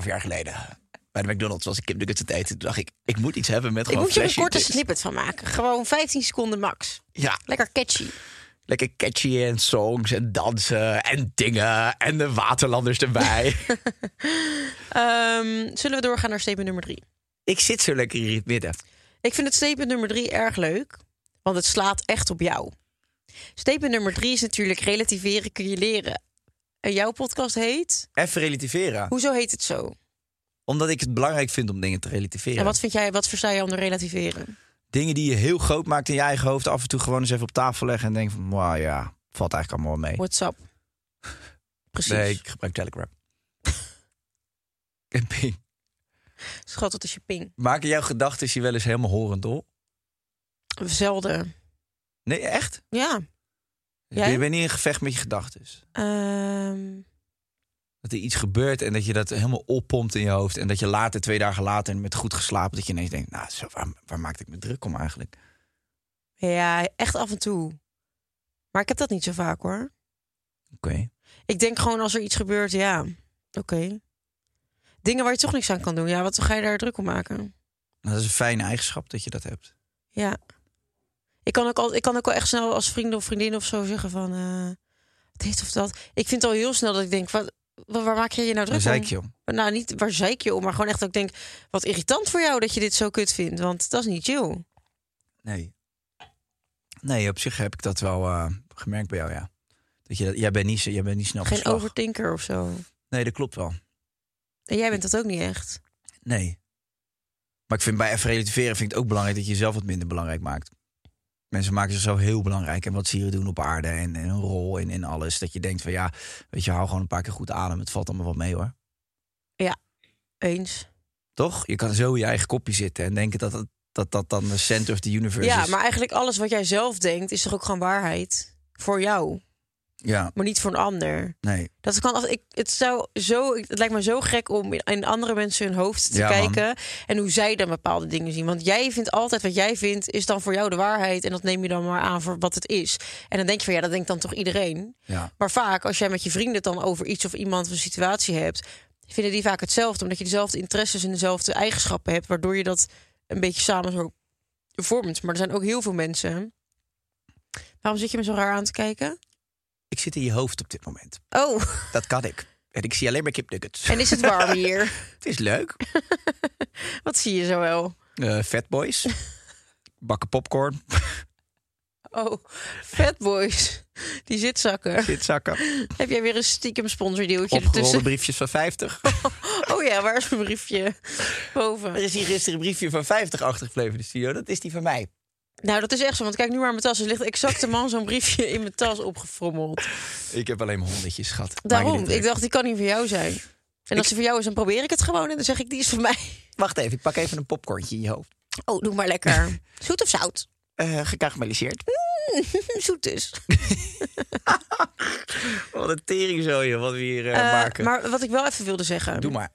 [SPEAKER 1] 8,5 jaar geleden.
[SPEAKER 6] bij de McDonald's was ik Kim Nuggets aan het eten. Toen dacht ik, ik moet iets hebben met
[SPEAKER 5] Ik
[SPEAKER 6] gewoon
[SPEAKER 5] moet je er een
[SPEAKER 6] flashy
[SPEAKER 5] korte
[SPEAKER 1] dus.
[SPEAKER 6] tips.
[SPEAKER 5] snippet van maken. Gewoon 15 seconden max.
[SPEAKER 6] Ja,
[SPEAKER 5] Lekker catchy.
[SPEAKER 6] lekker catchy en songs en dansen en dingen en de waterlanders erbij.
[SPEAKER 5] Ehm, zullen we doorgaan naar statement nummer drie?
[SPEAKER 6] ik zit zo lekker hier in het midden.
[SPEAKER 5] Ik vind het statement nummer drie erg leuk, want het slaat echt op jou. Statement nummer drie is natuurlijk relativeren kun je leren. En jouw podcast heet...
[SPEAKER 1] Even relativeren.
[SPEAKER 5] Hoezo heet het zo?
[SPEAKER 1] Omdat ik het belangrijk vind om dingen te relativeren.
[SPEAKER 5] En wat vind jij, wat versta je onder relativeren?
[SPEAKER 1] Dingen die je heel groot maakt in je eigen hoofd. Af en toe gewoon eens even op tafel leggen. En denken van, wauw ja, valt eigenlijk allemaal wel mee.
[SPEAKER 5] What's up? Precies.
[SPEAKER 1] Nee, ik gebruik Telegram. en ping.
[SPEAKER 5] Schat, wat is je ping?
[SPEAKER 1] Maken jouw gedachten je wel eens helemaal horendol?
[SPEAKER 5] Zelden.
[SPEAKER 1] Nee, echt?
[SPEAKER 5] Ja. Jij?
[SPEAKER 1] Je bent niet in gevecht met je gedachten.
[SPEAKER 5] Ehm,
[SPEAKER 1] Dat er iets gebeurt en dat je dat helemaal oppompt in je hoofd. En dat je later, twee dagen later, en met goed geslapen, dat je ineens denkt, nou, zo, waar, waar maakte ik me druk om eigenlijk?
[SPEAKER 5] ja, echt af en toe. Maar ik heb dat niet zo vaak hoor.
[SPEAKER 1] Oké.
[SPEAKER 5] Ik denk gewoon als er iets gebeurt, ja, oké. Dingen waar je toch niks aan kan doen. Ja, wat ga je daar druk om maken?
[SPEAKER 1] Dat is een fijne eigenschap dat je dat hebt.
[SPEAKER 5] Ja. Ik kan ook, al, ik kan ook wel echt snel als vrienden of vriendinnen of zo zeggen van... eh, dit of dat. Ik vind al heel snel dat ik denk, wat, wa- waar maak je je nou druk
[SPEAKER 1] Daar
[SPEAKER 5] om?
[SPEAKER 1] zei ik je om.
[SPEAKER 5] Nou, niet waar zeik je om, maar gewoon echt dat ik denk... Wat irritant voor jou dat je dit zo kut vindt. Want dat is niet chill.
[SPEAKER 1] Nee. Nee, op zich heb ik dat wel eh, gemerkt bij jou, ja. Dat je, dat- jij, bent niet, zo- jij bent niet snel
[SPEAKER 5] Geen
[SPEAKER 1] verslag.
[SPEAKER 5] overtinker of zo.
[SPEAKER 1] Nee, dat klopt wel.
[SPEAKER 5] En jij bent dat ook niet echt.
[SPEAKER 1] Nee. Maar ik vind bij even relativeren vind ik het ook belangrijk dat je jezelf wat minder belangrijk maakt. Mensen maken zichzelf heel belangrijk en wat ze hier doen op aarde en, en hun rol en, en alles. Dat je denkt van ja, weet je, hou gewoon een paar keer goed adem. Het valt allemaal wat mee hoor.
[SPEAKER 5] Eens.
[SPEAKER 1] Toch? Je kan zo in je eigen kopje zitten en denken dat dat, dat, dat dan de center of the universe
[SPEAKER 5] Ja,
[SPEAKER 1] is.
[SPEAKER 5] maar eigenlijk alles wat jij zelf denkt... is toch ook gewoon waarheid? Voor jou,
[SPEAKER 1] Ja,
[SPEAKER 5] maar niet voor een ander.
[SPEAKER 1] nee.
[SPEAKER 5] Dat kan als ik het zou zo, het lijkt me zo gek om in- in andere mensen hun hoofd te
[SPEAKER 1] Ja, man.
[SPEAKER 5] kijken en hoe zij dan bepaalde dingen zien. Want jij vindt altijd wat jij vindt is dan voor jou de waarheid en dat neem je dan maar aan voor wat het is. En dan denk je van ja, dat denkt dan toch iedereen.
[SPEAKER 1] Ja.
[SPEAKER 5] Maar vaak als jij met je vrienden het dan over iets of iemand of een situatie hebt, vinden die vaak hetzelfde omdat je dezelfde interesses en dezelfde eigenschappen hebt, waardoor je dat een beetje samen zo vormt. Maar er zijn ook heel veel mensen. Waarom zit je me zo raar aan te kijken?
[SPEAKER 6] Ik zit in je hoofd op dit moment.
[SPEAKER 5] Oh,
[SPEAKER 6] Dat kan ik. En ik zie alleen maar kipnuggets.
[SPEAKER 5] en is het warm hier?
[SPEAKER 6] Het is leuk.
[SPEAKER 5] Wat zie je zo wel?
[SPEAKER 6] Eh Fatboys. Bakken popcorn.
[SPEAKER 5] Oh, Fatboys. Die zitzakken.
[SPEAKER 6] Zitzakken.
[SPEAKER 5] Heb jij weer een stiekem sponsordeeltje
[SPEAKER 6] Opgerolde
[SPEAKER 5] ertussen?
[SPEAKER 6] briefjes van 50.
[SPEAKER 5] Oh ja, waar is mijn briefje?
[SPEAKER 6] Er
[SPEAKER 5] Boven.
[SPEAKER 6] is hier gisteren een briefje van 50 achtergebleven in de studio. Dat is die van mij.
[SPEAKER 5] Nou, dat is echt zo. Want kijk nu maar in mijn tas. Er ligt exact een man zo'n briefje in mijn tas opgefrommeld.
[SPEAKER 6] Ik heb alleen maar honderdjes, schat. Maak je
[SPEAKER 5] Daarom.
[SPEAKER 6] niet druk.
[SPEAKER 5] Ik dacht, die kan niet voor jou zijn. En als ze voor jou is, dan probeer ik het gewoon. En dan zeg ik, die is voor mij.
[SPEAKER 6] Wacht even, ik pak even een popcornje in je hoofd.
[SPEAKER 5] Oh, doe maar lekker. Zoet of zout?
[SPEAKER 6] Eh gekarameliseerd.
[SPEAKER 5] Zoet dus.
[SPEAKER 6] Wat een tering zo, joh, wat we hier eh,
[SPEAKER 5] Eh,
[SPEAKER 6] maken.
[SPEAKER 5] maar wat ik wel even wilde zeggen.
[SPEAKER 6] Doe maar.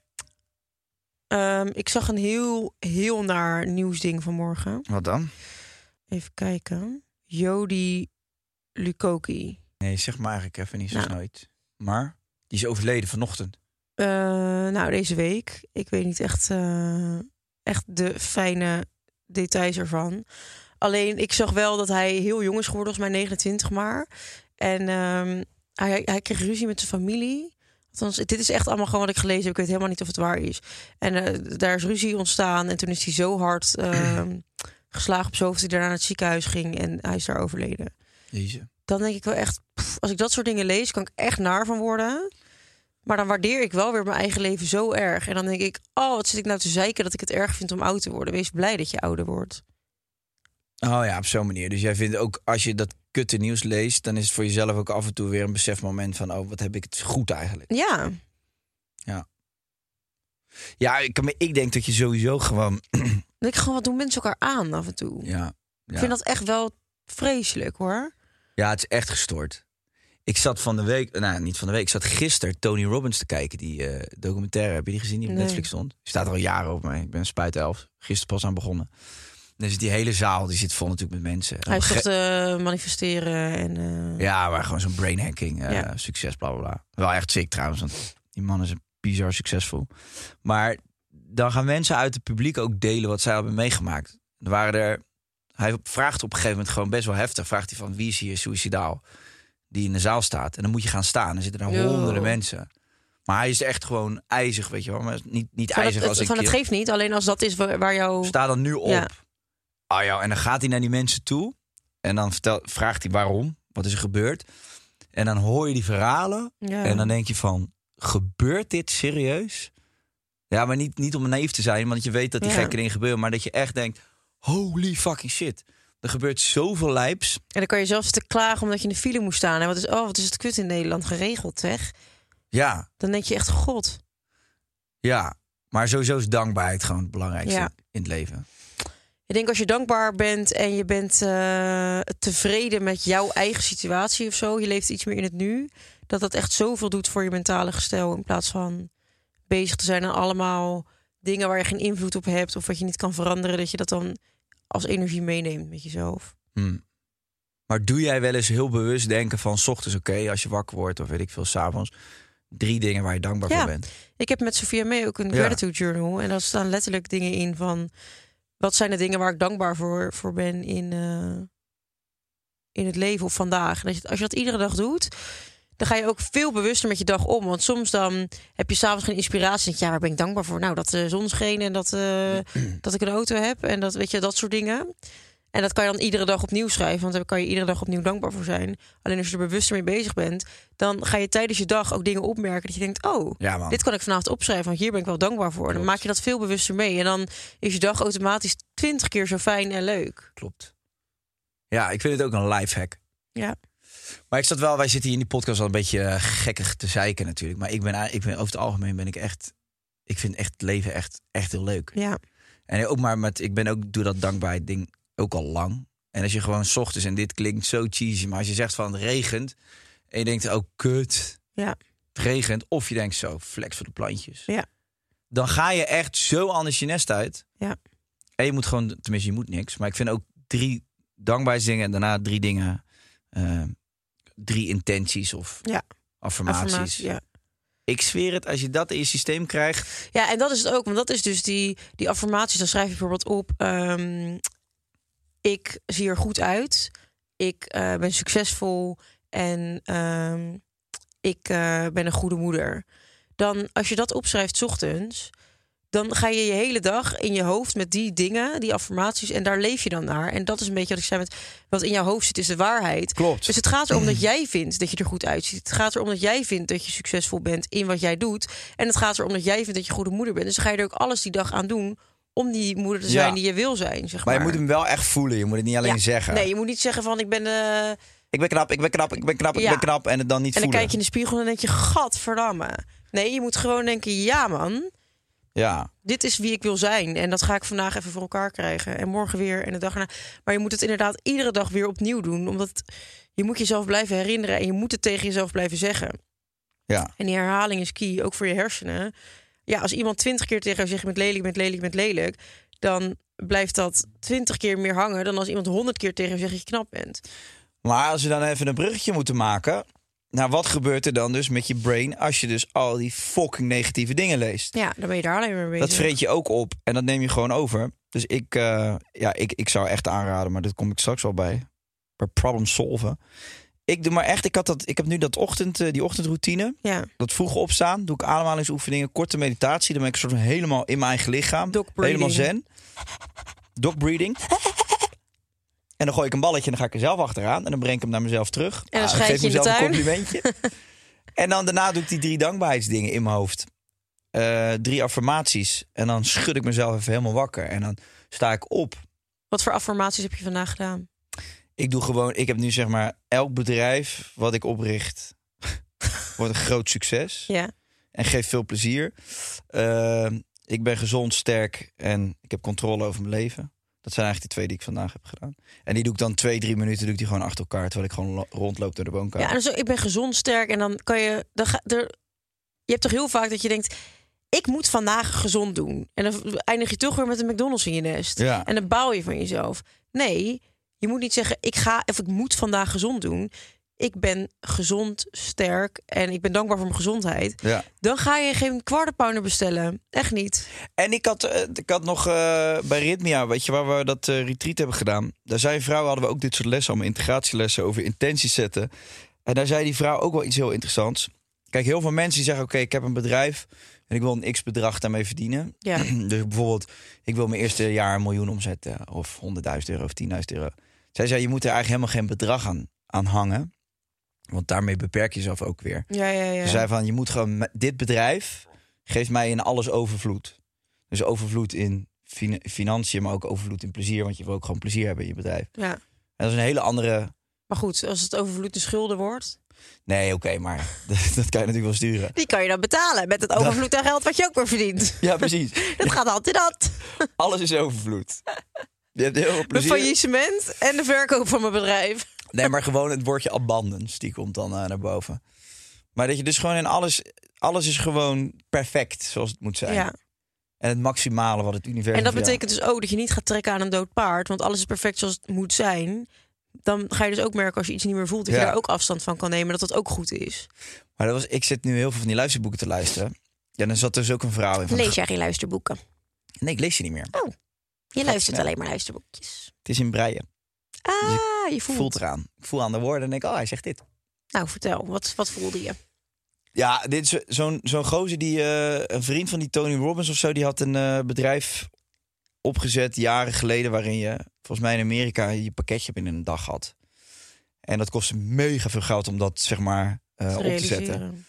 [SPEAKER 5] Ehm, ik zag een heel, heel naar nieuwsding vanmorgen.
[SPEAKER 1] Wat dan?
[SPEAKER 5] Even kijken. Jody Lukoki.
[SPEAKER 1] Nee, zeg maar eigenlijk even niet zo
[SPEAKER 5] Nou.
[SPEAKER 1] snel iets. Maar die is overleden vanochtend.
[SPEAKER 5] Eh, nou, deze week. Ik weet niet echt, eh, echt de fijne details ervan. Alleen, ik zag wel dat hij heel jong is geworden, volgens mij 29 maar. En ehm, hij, hij kreeg ruzie met zijn familie. Althans, dit is echt allemaal gewoon wat ik gelezen heb. Ik weet helemaal niet of het waar is. En eh, daar is ruzie ontstaan. En toen is hij zo hard ehm, geslagen op zijn hoofd... dat hij daarna naar het ziekenhuis ging en hij is daar overleden.
[SPEAKER 1] Deze.
[SPEAKER 5] dan denk ik wel echt, pff, als ik dat soort dingen lees, kan ik echt naar van worden. Maar dan waardeer ik wel weer mijn eigen leven zo erg. En dan denk ik, oh, wat zit ik nou te zeiken dat ik het erg vind om oud te worden. Wees blij dat je ouder wordt.
[SPEAKER 1] Oh ja, op zo'n manier. Dus jij vindt ook als je dat kutte nieuws leest, dan is het voor jezelf ook af en toe weer een besefmoment van, oh, wat heb ik het goed eigenlijk?
[SPEAKER 5] Ja,
[SPEAKER 1] Ja, ik, maar ik denk dat je sowieso gewoon,
[SPEAKER 5] dan denk ik gewoon, wat doen mensen elkaar aan af en toe?
[SPEAKER 1] ja,
[SPEAKER 5] Ik
[SPEAKER 1] ja.
[SPEAKER 5] vind dat echt wel vreselijk hoor.
[SPEAKER 1] ja, het is echt gestoord. Ik zat van de week, nou niet van de week, ik zat gisteren Tony Robbins te kijken, die eh, documentaire. Heb je die gezien die op
[SPEAKER 5] Nee.
[SPEAKER 1] Netflix stond? Die staat er al jaren op mij. Ik ben spuitelf. Gisteren pas aan begonnen. En dan zit die hele zaal, die zit vol natuurlijk met mensen. En op
[SPEAKER 5] Hij
[SPEAKER 1] een
[SPEAKER 5] is toch
[SPEAKER 1] gege-
[SPEAKER 5] te manifesteren en eh,
[SPEAKER 1] Nou, Ja, maar gewoon zo'n brain hacking, eh,
[SPEAKER 5] Ja.
[SPEAKER 1] succes, bla bla bla. Wel echt sick trouwens, want die man is bizar succesvol. Maar dan gaan mensen uit het publiek ook delen wat zij hebben meegemaakt. Er waren er, hij vraagt op een gegeven moment gewoon best wel heftig. Vraagt hij van wie is hier suicidaal? Die in de zaal staat. En dan moet je gaan staan. Er zitten er
[SPEAKER 5] Yo.
[SPEAKER 1] honderden mensen. Maar hij is echt gewoon ijzig, weet je wel. Maar niet, niet
[SPEAKER 5] Van, het,
[SPEAKER 1] ijzig
[SPEAKER 5] het-
[SPEAKER 1] als ik eh,
[SPEAKER 5] van het
[SPEAKER 1] je-
[SPEAKER 5] geeft niet, alleen als dat is wa- waar jouw...
[SPEAKER 1] Sta dan nu op.
[SPEAKER 5] Ja.
[SPEAKER 1] Ah ja, en dan gaat hij naar die mensen toe. En dan vertel, vraagt hij waarom. Wat is er gebeurd? En dan hoor je die verhalen.
[SPEAKER 5] Ja.
[SPEAKER 1] En dan denk je van, gebeurt dit serieus? Ja, maar niet, niet om naïef te zijn. Want je weet dat die
[SPEAKER 5] Ja.
[SPEAKER 1] gekke dingen gebeuren. Maar dat je echt denkt, holy fucking shit. Er gebeurt zoveel lijps.
[SPEAKER 5] En dan kan je zelfs te klagen omdat je in de file moest staan. En wat is, oh, wat is het kut in Nederland geregeld, zeg.
[SPEAKER 1] Ja,
[SPEAKER 5] Dan denk je echt, god.
[SPEAKER 1] ja. Maar sowieso is dankbaarheid gewoon het belangrijkste
[SPEAKER 5] Ja.
[SPEAKER 1] in het leven.
[SPEAKER 5] Ik denk als je dankbaar bent en je bent eh, tevreden met jouw eigen situatie of zo, je leeft iets meer in het nu, dat dat echt zoveel doet voor je mentale gestel in plaats van bezig te zijn aan allemaal dingen waar je geen invloed op hebt of wat je niet kan veranderen, dat je dat dan als energie meeneemt met jezelf.
[SPEAKER 1] Hm. Maar doe jij wel eens heel bewust denken van... s ochtends oké, als je wakker wordt of weet ik veel, s'avonds... drie dingen waar je dankbaar
[SPEAKER 5] Ja.
[SPEAKER 1] voor bent.
[SPEAKER 5] Ik heb met Sophia mee ook een
[SPEAKER 1] Ja.
[SPEAKER 5] gratitude journal en daar staan letterlijk dingen in van wat zijn de dingen waar ik dankbaar voor, voor ben in, eh, in het leven of vandaag. En Dat je, als je dat iedere dag doet, dan ga je ook veel bewuster met je dag om. Want soms dan heb je s'avonds geen inspiratie. Denk je, ja, waar ben ik dankbaar voor? Nou, dat de zon scheen en dat, eh, dat ik een auto heb en dat, weet je, dat soort dingen. En dat kan je dan iedere dag opnieuw schrijven, want daar kan je iedere dag opnieuw dankbaar voor zijn. Alleen als je er bewuster mee bezig bent, dan ga je tijdens je dag ook dingen opmerken dat je denkt, oh,
[SPEAKER 1] Ja, man.
[SPEAKER 5] dit kan ik vanavond opschrijven, want hier ben ik wel dankbaar voor. Dan
[SPEAKER 1] Klopt.
[SPEAKER 5] maak je dat veel bewuster mee en dan is je dag automatisch twintig keer zo fijn en leuk.
[SPEAKER 1] Klopt. Ja, ik vind het ook een lifehack.
[SPEAKER 5] Ja.
[SPEAKER 1] Maar ik zat wel, wij zitten hier in die podcast al een beetje eh, gekkig te zeiken natuurlijk. Maar ik ben, a- ik ben over het algemeen ben ik echt, ik vind echt het leven echt, echt heel leuk.
[SPEAKER 5] Ja,
[SPEAKER 1] En ook maar met, ik ben ook, doe dat dankbaarheid ding ook al lang. En als je gewoon 's ochtends, en dit klinkt zo cheesy, maar als je zegt van het regent. En je denkt, oh kut,
[SPEAKER 5] ja,
[SPEAKER 1] het regent. Of je denkt zo, flex voor de plantjes.
[SPEAKER 5] Ja.
[SPEAKER 1] Dan ga je echt zo anders je nest uit.
[SPEAKER 5] ja.
[SPEAKER 1] En je moet gewoon, tenminste, je moet niks. Maar ik vind ook drie dankbaarheidsdingen en daarna drie dingen. eh, drie intenties of
[SPEAKER 5] Ja.
[SPEAKER 1] affirmaties.
[SPEAKER 5] Affirmatie, ja.
[SPEAKER 1] Ik zweer het, als je dat in je systeem krijgt.
[SPEAKER 5] Ja, en dat is het ook. Want dat is dus die, die affirmaties. Dan schrijf je bijvoorbeeld op... ehm, ik zie er goed uit. Ik eh, ben succesvol. En ehm, ik eh, ben een goede moeder. Dan, als je dat opschrijft 's ochtends... dan ga je je hele dag in je hoofd met die dingen, die affirmaties... en daar leef je dan naar. En dat is een beetje wat ik zei met... wat in jouw hoofd zit, is de waarheid.
[SPEAKER 1] Klopt.
[SPEAKER 5] Dus het gaat erom dat jij vindt dat je er goed uitziet. Het gaat erom dat jij vindt dat je succesvol bent in wat jij doet. En het gaat erom dat jij vindt dat je goede moeder bent. Dus dan ga je er ook alles die dag aan doen om die moeder te
[SPEAKER 1] Ja.
[SPEAKER 5] zijn die je wil zijn. Zeg maar,
[SPEAKER 1] Maar je moet hem wel echt voelen. Je moet het niet alleen
[SPEAKER 5] Ja.
[SPEAKER 1] zeggen.
[SPEAKER 5] Nee, je moet niet zeggen van ik ben. eh,
[SPEAKER 1] Ik ben knap, ik ben knap, ik ben knap, ik
[SPEAKER 5] Ja.
[SPEAKER 1] ben knap. En het dan niet
[SPEAKER 5] en dan
[SPEAKER 1] voelen.
[SPEAKER 5] kijk je in de spiegel en dan denk je, gadverdamme. Nee, je moet gewoon denken, ja man,
[SPEAKER 1] Ja,
[SPEAKER 5] dit is wie ik wil zijn. En dat ga ik vandaag even voor elkaar krijgen. En morgen weer en de dag erna. Maar je moet het inderdaad iedere dag weer opnieuw doen. Omdat je moet jezelf blijven herinneren en je moet het tegen jezelf blijven zeggen.
[SPEAKER 1] ja.
[SPEAKER 5] En die herhaling is key, ook voor je hersenen. Ja, als iemand twintig keer tegen jou zegt... je bent lelijk, je bent lelijk, je bent lelijk... dan blijft dat twintig keer meer hangen... dan als iemand honderd keer tegen jou zegt dat je knap bent.
[SPEAKER 1] Maar als we dan even een bruggetje moeten maken. Nou, wat gebeurt er dan dus met je brain als je dus al die fucking negatieve dingen leest?
[SPEAKER 5] Ja, dan ben je daar alleen maar mee bezig.
[SPEAKER 1] Dat vreet je ook op en dat neem je gewoon over. Dus ik, eh, ja, ik, ik zou echt aanraden, maar dat kom ik straks wel bij. Bij problem solven. Ik doe maar echt, ik, had dat, ik heb nu dat ochtend, eh, die ochtendroutine.
[SPEAKER 5] Ja,
[SPEAKER 1] Dat vroeg opstaan, doe ik ademhalingsoefeningen, korte meditatie. Dan ben ik soort van helemaal in mijn eigen lichaam.
[SPEAKER 5] Dog breathing.
[SPEAKER 1] helemaal zen. Dog breathing. En dan gooi ik een balletje en dan ga ik er zelf achteraan. En dan breng ik hem naar mezelf terug. Ah,
[SPEAKER 5] dan
[SPEAKER 1] ik
[SPEAKER 5] schijt
[SPEAKER 1] geef
[SPEAKER 5] je in de
[SPEAKER 1] mezelf
[SPEAKER 5] tuin.
[SPEAKER 1] een complimentje. en dan daarna doe ik die drie dankbaarheidsdingen in mijn hoofd. Eh, drie affirmaties. En dan schud ik mezelf even helemaal wakker. En dan sta ik op.
[SPEAKER 5] wat voor affirmaties heb je vandaag gedaan?
[SPEAKER 1] Ik doe gewoon, ik heb nu zeg maar elk bedrijf wat ik opricht wordt een groot succes
[SPEAKER 5] Ja,
[SPEAKER 1] en geeft veel plezier. Eh, ik ben gezond, sterk en ik heb controle over mijn leven. Dat zijn eigenlijk de twee die ik vandaag heb gedaan. En die doe ik dan twee, drie minuten doe ik die gewoon achter elkaar... terwijl ik gewoon lo- rondloop door de woonkamer.
[SPEAKER 5] ja en zo, ik ben gezond, sterk en dan kan je... Dan ga, er, je hebt toch heel vaak dat je denkt... ik moet vandaag gezond doen. En dan eindig je toch weer met een McDonald's in je nest.
[SPEAKER 1] Ja.
[SPEAKER 5] En dan bouw je van jezelf. Nee, je moet niet zeggen, ik ga of ik moet vandaag gezond doen. ik ben gezond, sterk en ik ben dankbaar voor mijn gezondheid.
[SPEAKER 1] Ja.
[SPEAKER 5] Dan ga je geen quarter pounder bestellen. Echt niet.
[SPEAKER 1] En ik had, eh, ik had nog eh, bij Ritmia, weet je, waar we dat eh, retreat hebben gedaan. Daar zei een vrouw, hadden we ook dit soort lessen, allemaal integratielessen over intenties zetten. En daar zei die vrouw ook wel iets heel interessants. Kijk, heel veel mensen die zeggen, oké, ik heb een bedrijf en ik wil een x-bedrag daarmee verdienen.
[SPEAKER 5] Ja.
[SPEAKER 1] Dus bijvoorbeeld, ik wil mijn eerste jaar een miljoen omzetten of 100.000 euro of 10.000 euro. Zij zei, je moet er eigenlijk helemaal geen bedrag aan, aan hangen. Want daarmee beperk je jezelf ook weer.
[SPEAKER 5] Ja, ja, ja.
[SPEAKER 1] Ze zei van, je moet gewoon, met- dit bedrijf geeft mij in alles overvloed. Dus overvloed in fin- financiën, maar ook overvloed in plezier. Want je wil ook gewoon plezier hebben in je bedrijf.
[SPEAKER 5] ja.
[SPEAKER 1] En dat is een hele andere...
[SPEAKER 5] Maar goed, als het overvloed de schulden wordt,
[SPEAKER 1] Nee, oké, maar dat, dat kan je natuurlijk wel sturen.
[SPEAKER 5] die kan je dan betalen met het overvloed aan geld wat je ook weer verdient.
[SPEAKER 1] Ja, precies.
[SPEAKER 5] Het gaat altijd dat.
[SPEAKER 1] Alles is overvloed. Je hebt heel veel
[SPEAKER 5] Mijn
[SPEAKER 1] plezier.
[SPEAKER 5] faillissement en de verkoop van mijn bedrijf.
[SPEAKER 1] Nee, maar gewoon het woordje abundance, die komt dan eh, naar boven. Maar dat je dus gewoon in alles... Alles is gewoon perfect, zoals het moet zijn.
[SPEAKER 5] Ja.
[SPEAKER 1] En het maximale wat het universum...
[SPEAKER 5] En dat
[SPEAKER 1] voor jou-
[SPEAKER 5] betekent dus ook dat je niet gaat trekken aan een dood paard, want alles is perfect zoals het moet zijn. Dan ga je dus ook merken als je iets niet meer voelt, dat
[SPEAKER 1] Ja.
[SPEAKER 5] je daar ook afstand van kan nemen, dat dat ook goed is.
[SPEAKER 1] Maar dat was, ik zit nu heel veel van die luisterboeken te luisteren. Ja, dan zat dus ook een verhaal in. Van,
[SPEAKER 5] Lees jij geen luisterboeken?
[SPEAKER 1] Nee, ik lees je niet meer.
[SPEAKER 5] Je luistert
[SPEAKER 1] snel.
[SPEAKER 5] alleen maar luisterboekjes.
[SPEAKER 1] Het is in breien.
[SPEAKER 5] Ah, je
[SPEAKER 1] Ik
[SPEAKER 5] voelt.
[SPEAKER 1] voel het eraan. Ik voel aan de woorden en denk, oh, hij zegt dit.
[SPEAKER 5] Nou, vertel, wat, wat voelde je?
[SPEAKER 1] Ja, dit is zo- zo'n zo'n gozer die eh, een vriend van die Tony Robbins of zo, die had een eh, bedrijf opgezet jaren geleden waarin je volgens mij in Amerika je pakketje binnen een dag had. En dat kostte mega veel geld om dat zeg maar eh, op te zetten.
[SPEAKER 5] Realiseren.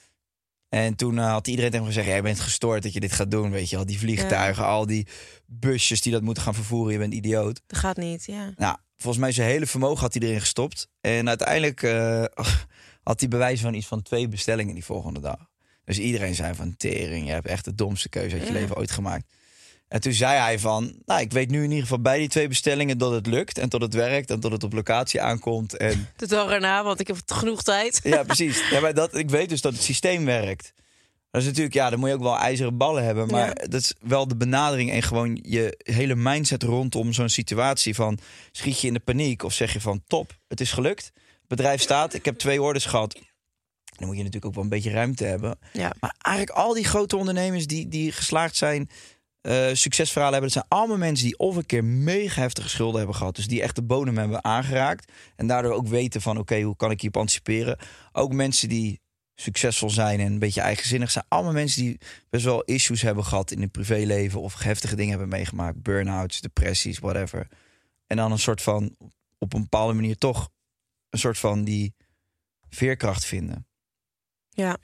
[SPEAKER 1] En toen eh, had iedereen tegen me gezegd: Jij bent gestoord dat je dit gaat doen. Weet je, al die vliegtuigen, al die busjes die dat moeten gaan vervoeren. Je bent idioot.
[SPEAKER 5] Dat gaat niet, ja.
[SPEAKER 1] Nou, volgens mij zijn hele vermogen had hij erin gestopt. En uiteindelijk eh, had hij bewijs van iets van twee bestellingen die volgende dag. Dus iedereen zei van, tering, je hebt echt de domste keuze uit je
[SPEAKER 5] Ja.
[SPEAKER 1] leven ooit gemaakt. En toen zei hij van, nou, ik weet nu in ieder geval bij die twee bestellingen dat het lukt. En dat het werkt en dat het op locatie aankomt. En
[SPEAKER 5] De dag erna, want ik heb genoeg tijd.
[SPEAKER 1] ja, precies. Ja, maar dat, ik weet dus dat het systeem werkt. Dat is natuurlijk, ja, dan moet je ook wel ijzeren ballen hebben. Maar
[SPEAKER 5] Ja.
[SPEAKER 1] dat is wel de benadering en gewoon je hele mindset rondom zo'n situatie. Van schiet je in de paniek of zeg je van top, het is gelukt. Het bedrijf staat, ik heb twee orders gehad. Dan moet je natuurlijk ook wel een beetje ruimte hebben.
[SPEAKER 5] Ja.
[SPEAKER 1] Maar eigenlijk al die grote ondernemers die, die geslaagd zijn, eh, succesverhalen hebben, dat zijn allemaal mensen die of een keer mega heftige schulden hebben gehad. Dus die echt de bodem hebben aangeraakt. En daardoor ook weten van oké, hoe kan ik hierop anticiperen? Ook mensen die succesvol zijn en een beetje eigenzinnig zijn. Allemaal mensen die best wel issues hebben gehad in hun privéleven of heftige dingen hebben meegemaakt. Burn-outs, depressies, whatever. En dan een soort van op een bepaalde manier toch een soort van die veerkracht vinden.
[SPEAKER 5] Ja.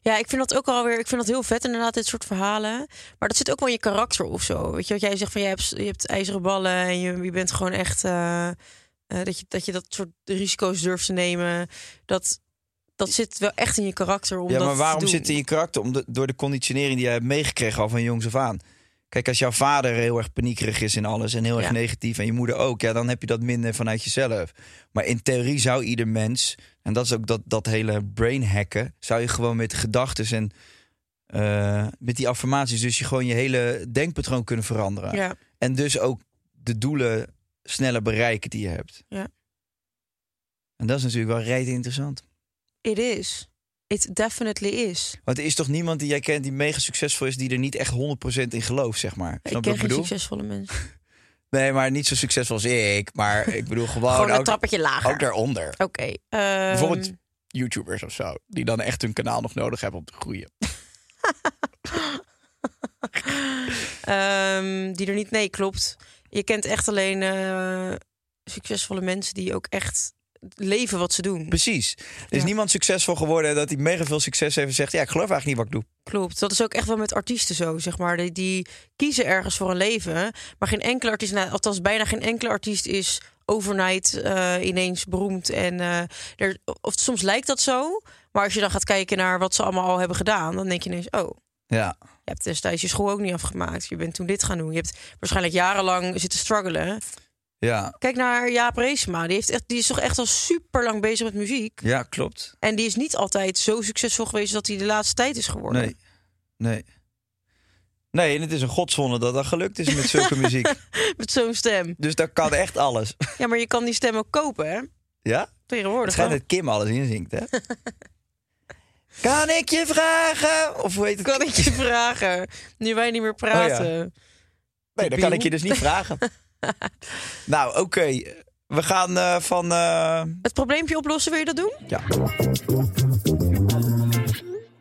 [SPEAKER 5] Ja, ik vind dat ook alweer. Ik vind dat heel vet, inderdaad, dit soort verhalen. Maar dat zit ook wel in je karakter of zo. Weet je, wat jij zegt van je hebt, je hebt ijzeren ballen en je, je bent gewoon echt. eh, eh, dat, je, dat je dat soort risico's durft te nemen. Dat, dat zit wel echt in je karakter. Om
[SPEAKER 1] ja,
[SPEAKER 5] dat
[SPEAKER 1] maar
[SPEAKER 5] te
[SPEAKER 1] waarom
[SPEAKER 5] doen.
[SPEAKER 1] zit het in je karakter? Om de- door de conditionering die je hebt meegekregen al van jongs af aan. Kijk, als jouw vader heel erg paniekerig is in alles en heel erg
[SPEAKER 5] Ja.
[SPEAKER 1] negatief en je moeder ook, ja, dan heb je dat minder vanuit jezelf. Maar in theorie zou ieder mens, en dat is ook dat, dat hele brain hacken, zou je gewoon met gedachten en eh, met die affirmaties, dus je gewoon je hele denkpatroon kunnen veranderen.
[SPEAKER 5] Ja,
[SPEAKER 1] En dus ook de doelen sneller bereiken die je hebt.
[SPEAKER 5] Ja.
[SPEAKER 1] En dat is natuurlijk wel reet interessant.
[SPEAKER 5] it is. It definitely is.
[SPEAKER 1] Want er is toch niemand die jij kent die mega succesvol is, die er niet echt 100% in gelooft, zeg maar. Snap
[SPEAKER 5] ik
[SPEAKER 1] je
[SPEAKER 5] ken
[SPEAKER 1] wat ik
[SPEAKER 5] geen
[SPEAKER 1] bedoel? Oh,
[SPEAKER 5] succesvolle mensen.
[SPEAKER 1] Nee, maar niet zo succesvol als ik. Maar ik bedoel gewoon,
[SPEAKER 5] gewoon een
[SPEAKER 1] ook,
[SPEAKER 5] trappertje lager.
[SPEAKER 1] nou, ook
[SPEAKER 5] Oké.
[SPEAKER 1] daaronder.
[SPEAKER 6] Bijvoorbeeld
[SPEAKER 5] ehm,
[SPEAKER 6] YouTubers of zo. Die dan echt hun kanaal nog nodig hebben om te groeien.
[SPEAKER 5] Ehm, die er niet. Nee, klopt. Je kent echt alleen eh, succesvolle mensen die ook echt leven wat ze doen.
[SPEAKER 1] Precies. Er is
[SPEAKER 5] Ja.
[SPEAKER 1] niemand succesvol geworden dat hij mega veel succes heeft en zegt... ja, ik geloof eigenlijk niet wat ik doe.
[SPEAKER 5] Klopt. Dat is ook echt wel met artiesten zo, zeg maar. Die, die kiezen ergens voor een leven. Maar geen enkele artiest, nou, althans bijna geen enkele artiest is overnight eh, ineens beroemd. En eh, er, of soms lijkt dat zo. Maar als je dan gaat kijken naar wat ze allemaal al hebben gedaan, dan denk je ineens, oh,
[SPEAKER 1] Ja,
[SPEAKER 5] je hebt destijds je school ook niet afgemaakt. Je bent toen dit gaan doen. Je hebt waarschijnlijk jarenlang zitten struggelen.
[SPEAKER 1] ja,
[SPEAKER 5] Kijk naar Jaap Reesma. Die, heeft echt, die is toch echt al super lang bezig met muziek.
[SPEAKER 1] ja, klopt.
[SPEAKER 5] En die is niet altijd zo succesvol geweest dat hij de laatste tijd is geworden.
[SPEAKER 1] Nee, nee. Nee, en het is een godzonde dat dat gelukt is met zulke muziek.
[SPEAKER 5] Met zo'n stem.
[SPEAKER 1] Dus daar kan echt alles.
[SPEAKER 5] Ja, maar je kan die stem ook kopen, hè?
[SPEAKER 1] Ja? Het
[SPEAKER 5] Tegenwoordig.
[SPEAKER 1] schijnt
[SPEAKER 5] wel.
[SPEAKER 1] dat Kim alles inzingt, hè? kan ik je vragen? Of hoe heet het? Oh
[SPEAKER 5] Kan ik je vragen? Nu wij niet meer praten.
[SPEAKER 1] Nee, dat kan ik je dus niet vragen. nou, oké. We gaan eh, van... eh,
[SPEAKER 5] Het probleempje oplossen, wil je dat doen?
[SPEAKER 1] Ja.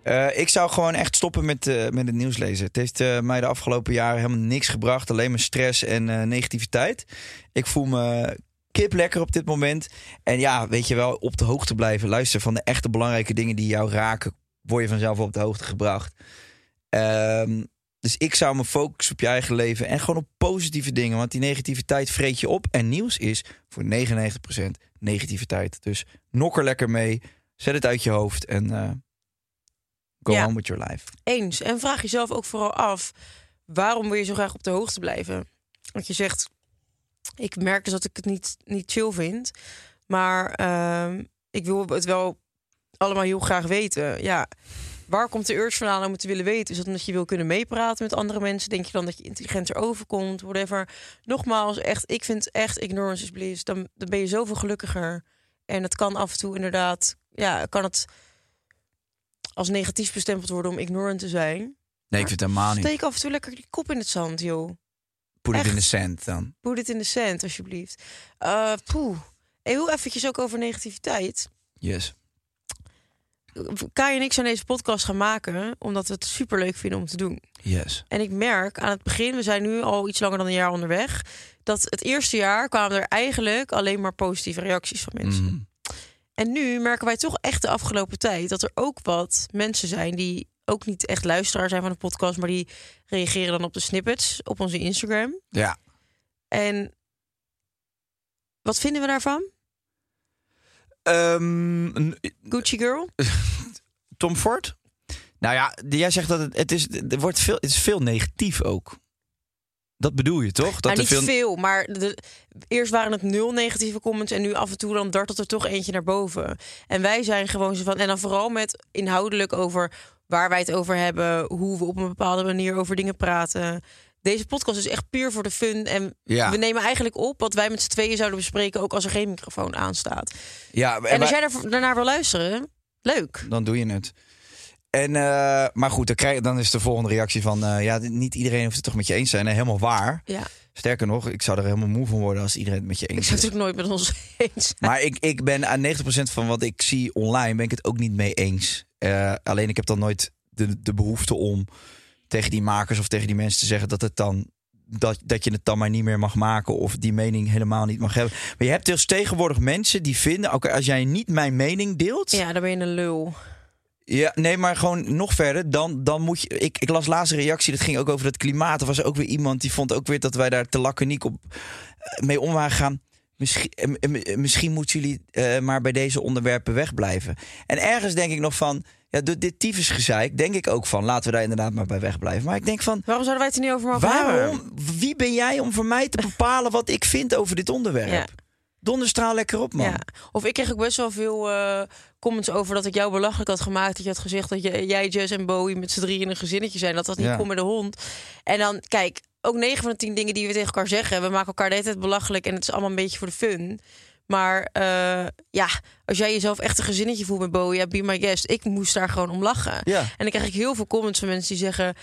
[SPEAKER 1] Eh, ik zou gewoon echt stoppen met, eh, met het nieuws lezen. Het heeft eh, mij de afgelopen jaren helemaal niks gebracht. Alleen maar stress en eh, negativiteit. Ik voel me kip lekker op dit moment. En ja, weet je wel, op de hoogte blijven. Luister, van de echte belangrijke dingen die jou raken... word je vanzelf op de hoogte gebracht. Ehm, dus ik zou me focussen op je eigen leven. En gewoon op positieve dingen. Want die negativiteit vreet je op. En nieuws is voor 99% negativiteit. Dus nok er lekker mee. Zet het uit je hoofd en eh, go
[SPEAKER 5] Ja.
[SPEAKER 1] on with your life.
[SPEAKER 5] Eens. En vraag jezelf ook vooral af, waarom wil je zo graag op de hoogte blijven? Want je zegt, ik merk dus dat ik het niet, niet chill vind. Maar ehm, ik wil het wel allemaal heel graag weten. Ja, waar komt de urge vandaan om het te willen weten? Is dat omdat je wil kunnen meepraten met andere mensen? Denk je dan dat je intelligenter overkomt? Whatever. Nogmaals, echt, ik vind echt ignorance is bliss. Dan, dan ben je zoveel gelukkiger. En het kan af en toe inderdaad, ja, kan het als negatief bestempeld worden om ignorant te zijn.
[SPEAKER 1] Nee, ik vind het helemaal niet.
[SPEAKER 5] Steek af en toe lekker die kop in het zand, joh.
[SPEAKER 1] Put it in the
[SPEAKER 5] echt.
[SPEAKER 1] sand dan.
[SPEAKER 5] Put it in the sand, alsjeblieft. Eh poeh. Hey, heel eventjes ook over negativiteit.
[SPEAKER 1] Yes.
[SPEAKER 5] Kai en ik zijn deze podcast gaan maken omdat we het superleuk vinden om te doen.
[SPEAKER 1] Yes.
[SPEAKER 5] En ik merk aan het begin, we zijn nu al iets langer dan een jaar onderweg, dat het eerste jaar kwamen er eigenlijk alleen maar positieve reacties van mensen.
[SPEAKER 1] Mhm.
[SPEAKER 5] En nu merken wij toch echt de afgelopen tijd dat er ook wat mensen zijn die ook niet echt luisteraar zijn van de podcast, maar die reageren dan op de snippets op onze Instagram.
[SPEAKER 1] Ja.
[SPEAKER 5] En wat vinden we daarvan?
[SPEAKER 1] Ehm, n-
[SPEAKER 5] Gucci Girl?
[SPEAKER 1] Tom Ford? Nou ja, d- jij zegt dat het, het, is, er wordt veel, het is veel negatief ook. Dat bedoel je toch? Dat
[SPEAKER 5] Nou,
[SPEAKER 1] er
[SPEAKER 5] niet veel... maar de, eerst waren het nul negatieve comments en nu af en toe dan dartelt er toch eentje naar boven. En wij zijn gewoon zo van, en dan vooral met inhoudelijk over waar wij het over hebben, hoe we op een bepaalde manier over dingen praten. Deze podcast is echt puur voor de fun en
[SPEAKER 1] Ja.
[SPEAKER 5] we nemen eigenlijk op wat wij met z'n tweeën zouden bespreken, ook als er geen microfoon aanstaat.
[SPEAKER 1] Ja, en
[SPEAKER 5] En als
[SPEAKER 1] wij-
[SPEAKER 5] jij daar- daarnaar wil luisteren, leuk.
[SPEAKER 1] dan doe je het. En, eh, maar goed, dan, krijg, dan is de volgende reactie van... eh, ja, niet iedereen hoeft het toch met je eens te zijn. En helemaal waar.
[SPEAKER 5] Ja,
[SPEAKER 1] Sterker nog, ik zou er helemaal moe van worden als iedereen het met je eens
[SPEAKER 5] ik zou
[SPEAKER 1] is.
[SPEAKER 5] het natuurlijk nooit met ons eens zijn.
[SPEAKER 1] Maar ik, ik ben aan 90% van wat ik zie online ben ik het ook niet mee eens. Eh, alleen ik heb dan nooit de, de behoefte om tegen die makers of tegen die mensen te zeggen dat het dan. Dat, dat je het dan maar niet meer mag maken of die mening helemaal niet mag hebben. Maar je hebt dus tegenwoordig mensen die vinden, oké, als jij niet mijn mening deelt,
[SPEAKER 5] Ja, dan ben je een lul.
[SPEAKER 1] ja, nee, maar gewoon nog verder. Dan, dan moet je. Ik, ik las laatst een reactie. Dat ging ook over het klimaat. Er was ook weer iemand die vond ook weer dat wij daar te laconiek op eh, mee om waren gaan. Misschien, eh, eh, eh, misschien moeten jullie eh, maar bij deze onderwerpen wegblijven. En ergens denk ik nog van. Ja, door dit tyfusgezeik denk ik ook van. Laten we daar inderdaad maar bij wegblijven. Maar ik denk van.
[SPEAKER 5] Waarom zouden wij het er niet over mogen hebben?
[SPEAKER 1] Waarom? Wie ben jij om voor mij te bepalen wat ik vind over dit onderwerp?
[SPEAKER 5] Ja.
[SPEAKER 1] Donderstraal lekker op, man.
[SPEAKER 5] Ja. Of ik kreeg ook best wel veel eh, comments over dat ik jou belachelijk had gemaakt. Dat je had gezegd dat je, jij, Jess en Bowie met z'n drieën in een gezinnetje zijn. Dat dat niet
[SPEAKER 1] Ja.
[SPEAKER 5] kon met de hond. En dan, kijk, ook negen van de tien dingen die we tegen elkaar zeggen. We maken elkaar de hele tijd belachelijk en het is allemaal een beetje voor de fun. Maar eh, ja, als jij jezelf echt een gezinnetje voelt met Bowie, ja, be my guest. Ik moest daar gewoon om lachen.
[SPEAKER 1] Ja.
[SPEAKER 5] En dan krijg ik heel veel comments van mensen die zeggen...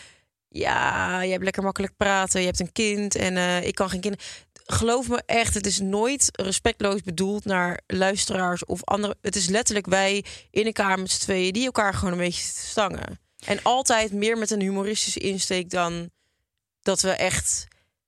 [SPEAKER 5] Ja, je hebt lekker makkelijk praten. Je hebt een kind en eh, ik kan geen kinderen. Geloof me echt, het is nooit respectloos bedoeld naar luisteraars of andere. Het is letterlijk wij in elkaar met z'n tweeën die elkaar gewoon een beetje zitten te stangen. En altijd meer met een humoristische insteek dan dat we echt.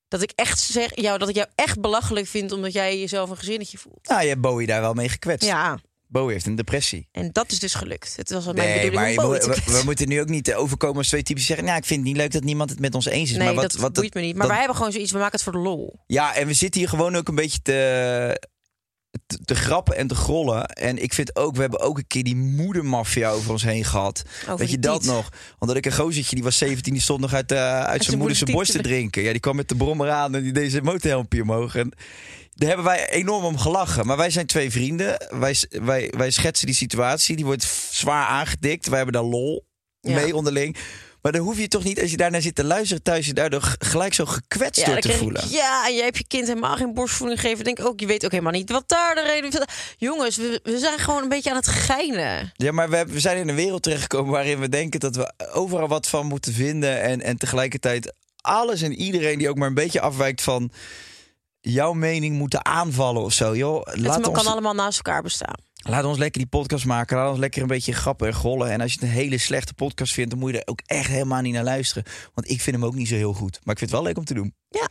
[SPEAKER 5] Dat ik echt zeg, jou, dat ik jou echt belachelijk vind omdat jij jezelf een gezinnetje voelt.
[SPEAKER 1] Nou, je hebt Bowie daar wel mee gekwetst.
[SPEAKER 5] Ja,
[SPEAKER 1] Bowie heeft een depressie.
[SPEAKER 5] en dat is dus gelukt. Het was wel mijn
[SPEAKER 1] Nee,
[SPEAKER 5] bedoeling
[SPEAKER 1] maar
[SPEAKER 5] om
[SPEAKER 1] je
[SPEAKER 5] Bowie
[SPEAKER 1] moet-
[SPEAKER 5] te
[SPEAKER 1] we, we
[SPEAKER 5] kwetsen.
[SPEAKER 1] moeten nu ook niet eh, overkomen als twee typen die zeggen... nou, ik vind het niet leuk dat niemand het met ons eens is.
[SPEAKER 5] Nee,
[SPEAKER 1] maar wat,
[SPEAKER 5] dat
[SPEAKER 1] wat,
[SPEAKER 5] boeit me niet. Maar
[SPEAKER 1] dat-
[SPEAKER 5] wij hebben gewoon zoiets, we maken het voor de lol.
[SPEAKER 1] Ja, en we zitten hier gewoon ook een beetje te, te, te grappen en te grollen. En ik vind ook, we hebben ook een keer die moedermafia over ons heen gehad. Weet
[SPEAKER 5] die
[SPEAKER 1] je dat
[SPEAKER 5] tiet.
[SPEAKER 1] nog? Omdat ik een gozertje, die was 17, die stond nog uit, eh, uit, zijn
[SPEAKER 5] zijn
[SPEAKER 1] moeder zijn
[SPEAKER 5] moeder
[SPEAKER 1] borst te
[SPEAKER 5] tiet te
[SPEAKER 1] drinken. Ja, die kwam met de brommer aan en die deed zijn motorhelmpje omhoog. En daar hebben wij enorm om gelachen. Maar wij zijn twee vrienden. Wij, s- wij, wij schetsen die situatie. Die wordt f- zwaar aangedikt. Wij hebben daar lol
[SPEAKER 5] Ja.
[SPEAKER 1] mee onderling. Maar dan hoef je toch niet, als je daarnaar zit te luisteren thuis, je daardoor g- gelijk zo gekwetst door
[SPEAKER 5] dan
[SPEAKER 1] te
[SPEAKER 5] krijg
[SPEAKER 1] voelen.
[SPEAKER 5] Ik, ja, en jij hebt je kind helemaal geen borstvoeding gegeven. Denk ik ook, je weet ook helemaal niet wat daar de reden van Jongens, we, we zijn gewoon een beetje aan het geinen.
[SPEAKER 1] Ja, maar we, hebben- we zijn in een wereld terechtgekomen waarin we denken dat we overal wat van moeten vinden. En, en tegelijkertijd alles en iedereen die ook maar een beetje afwijkt van jouw mening moeten aanvallen of zo. Joh,
[SPEAKER 5] het
[SPEAKER 1] laat,
[SPEAKER 5] kan
[SPEAKER 1] ons,
[SPEAKER 5] allemaal naast elkaar bestaan.
[SPEAKER 1] laat ons lekker die podcast maken. Laat ons lekker een beetje grappen en gollen. En als je het een hele slechte podcast vindt, dan moet je er ook echt helemaal niet naar luisteren. Want ik vind hem ook niet zo heel goed. Maar ik vind het wel leuk om te doen.
[SPEAKER 5] Ja,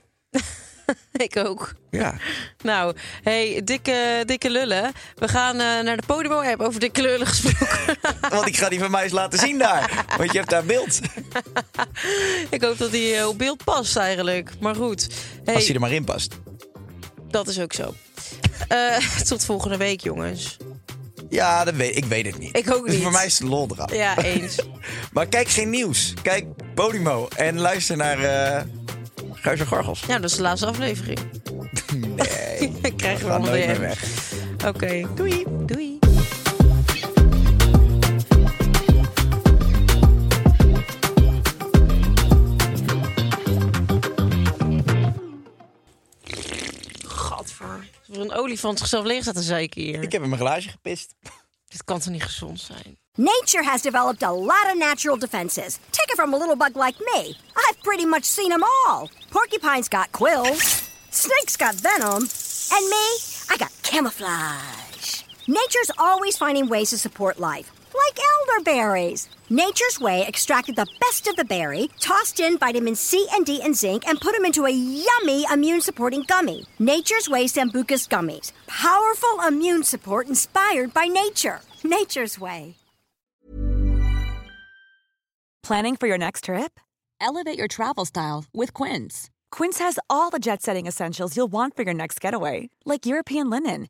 [SPEAKER 5] ik ook.
[SPEAKER 1] Ja.
[SPEAKER 5] Nou, hey, dikke, dikke lullen. We gaan eh, naar de Podimo app over dikke lullen gesproken.
[SPEAKER 1] Want ik ga die van mij eens laten zien daar. Want je hebt daar beeld.
[SPEAKER 5] ik hoop dat die eh, op beeld past eigenlijk. Maar goed, hey,
[SPEAKER 1] Als je er maar in past.
[SPEAKER 5] dat is ook zo. Eh, tot volgende week, jongens.
[SPEAKER 1] Ja, dat weet, ik weet het niet.
[SPEAKER 5] Ik ook
[SPEAKER 1] Dus
[SPEAKER 5] niet.
[SPEAKER 1] voor mij is het lol eraan.
[SPEAKER 5] Ja, eens.
[SPEAKER 1] Maar kijk geen nieuws. Kijk Podimo. En luister naar eh Guis en Gorgels.
[SPEAKER 5] Ja, dat is de laatste aflevering.
[SPEAKER 1] Nee.
[SPEAKER 5] Ik krijg
[SPEAKER 1] we
[SPEAKER 5] wel
[SPEAKER 1] gaan
[SPEAKER 5] een
[SPEAKER 1] nooit meer
[SPEAKER 5] DM.
[SPEAKER 1] weg.
[SPEAKER 5] Oké, doei. Doei. Gadver. Voor een olifant zichzelf leeg staat te zeiken hier.
[SPEAKER 1] Ik heb in mijn glaasje gepist.
[SPEAKER 5] Dit kan toch niet gezond zijn?
[SPEAKER 7] Nature has developed a lot of natural defenses. Take it from a little bug like me. I've pretty much seen them all. Porcupines got quills, snakes got venom, and me, I got camouflage. Nature's always finding ways to support life, like elderberries. Nature's way extracted the best of the berry, tossed in vitamin C and D and zinc, and put them into a yummy immune supporting gummy. Nature's Way Sambucus Gummies. Powerful immune support inspired by nature. Nature's Way.
[SPEAKER 8] Planning for your next trip?
[SPEAKER 9] Elevate your travel style with Quince.
[SPEAKER 8] Quince has all the jet setting essentials you'll want for your next getaway, like European linen,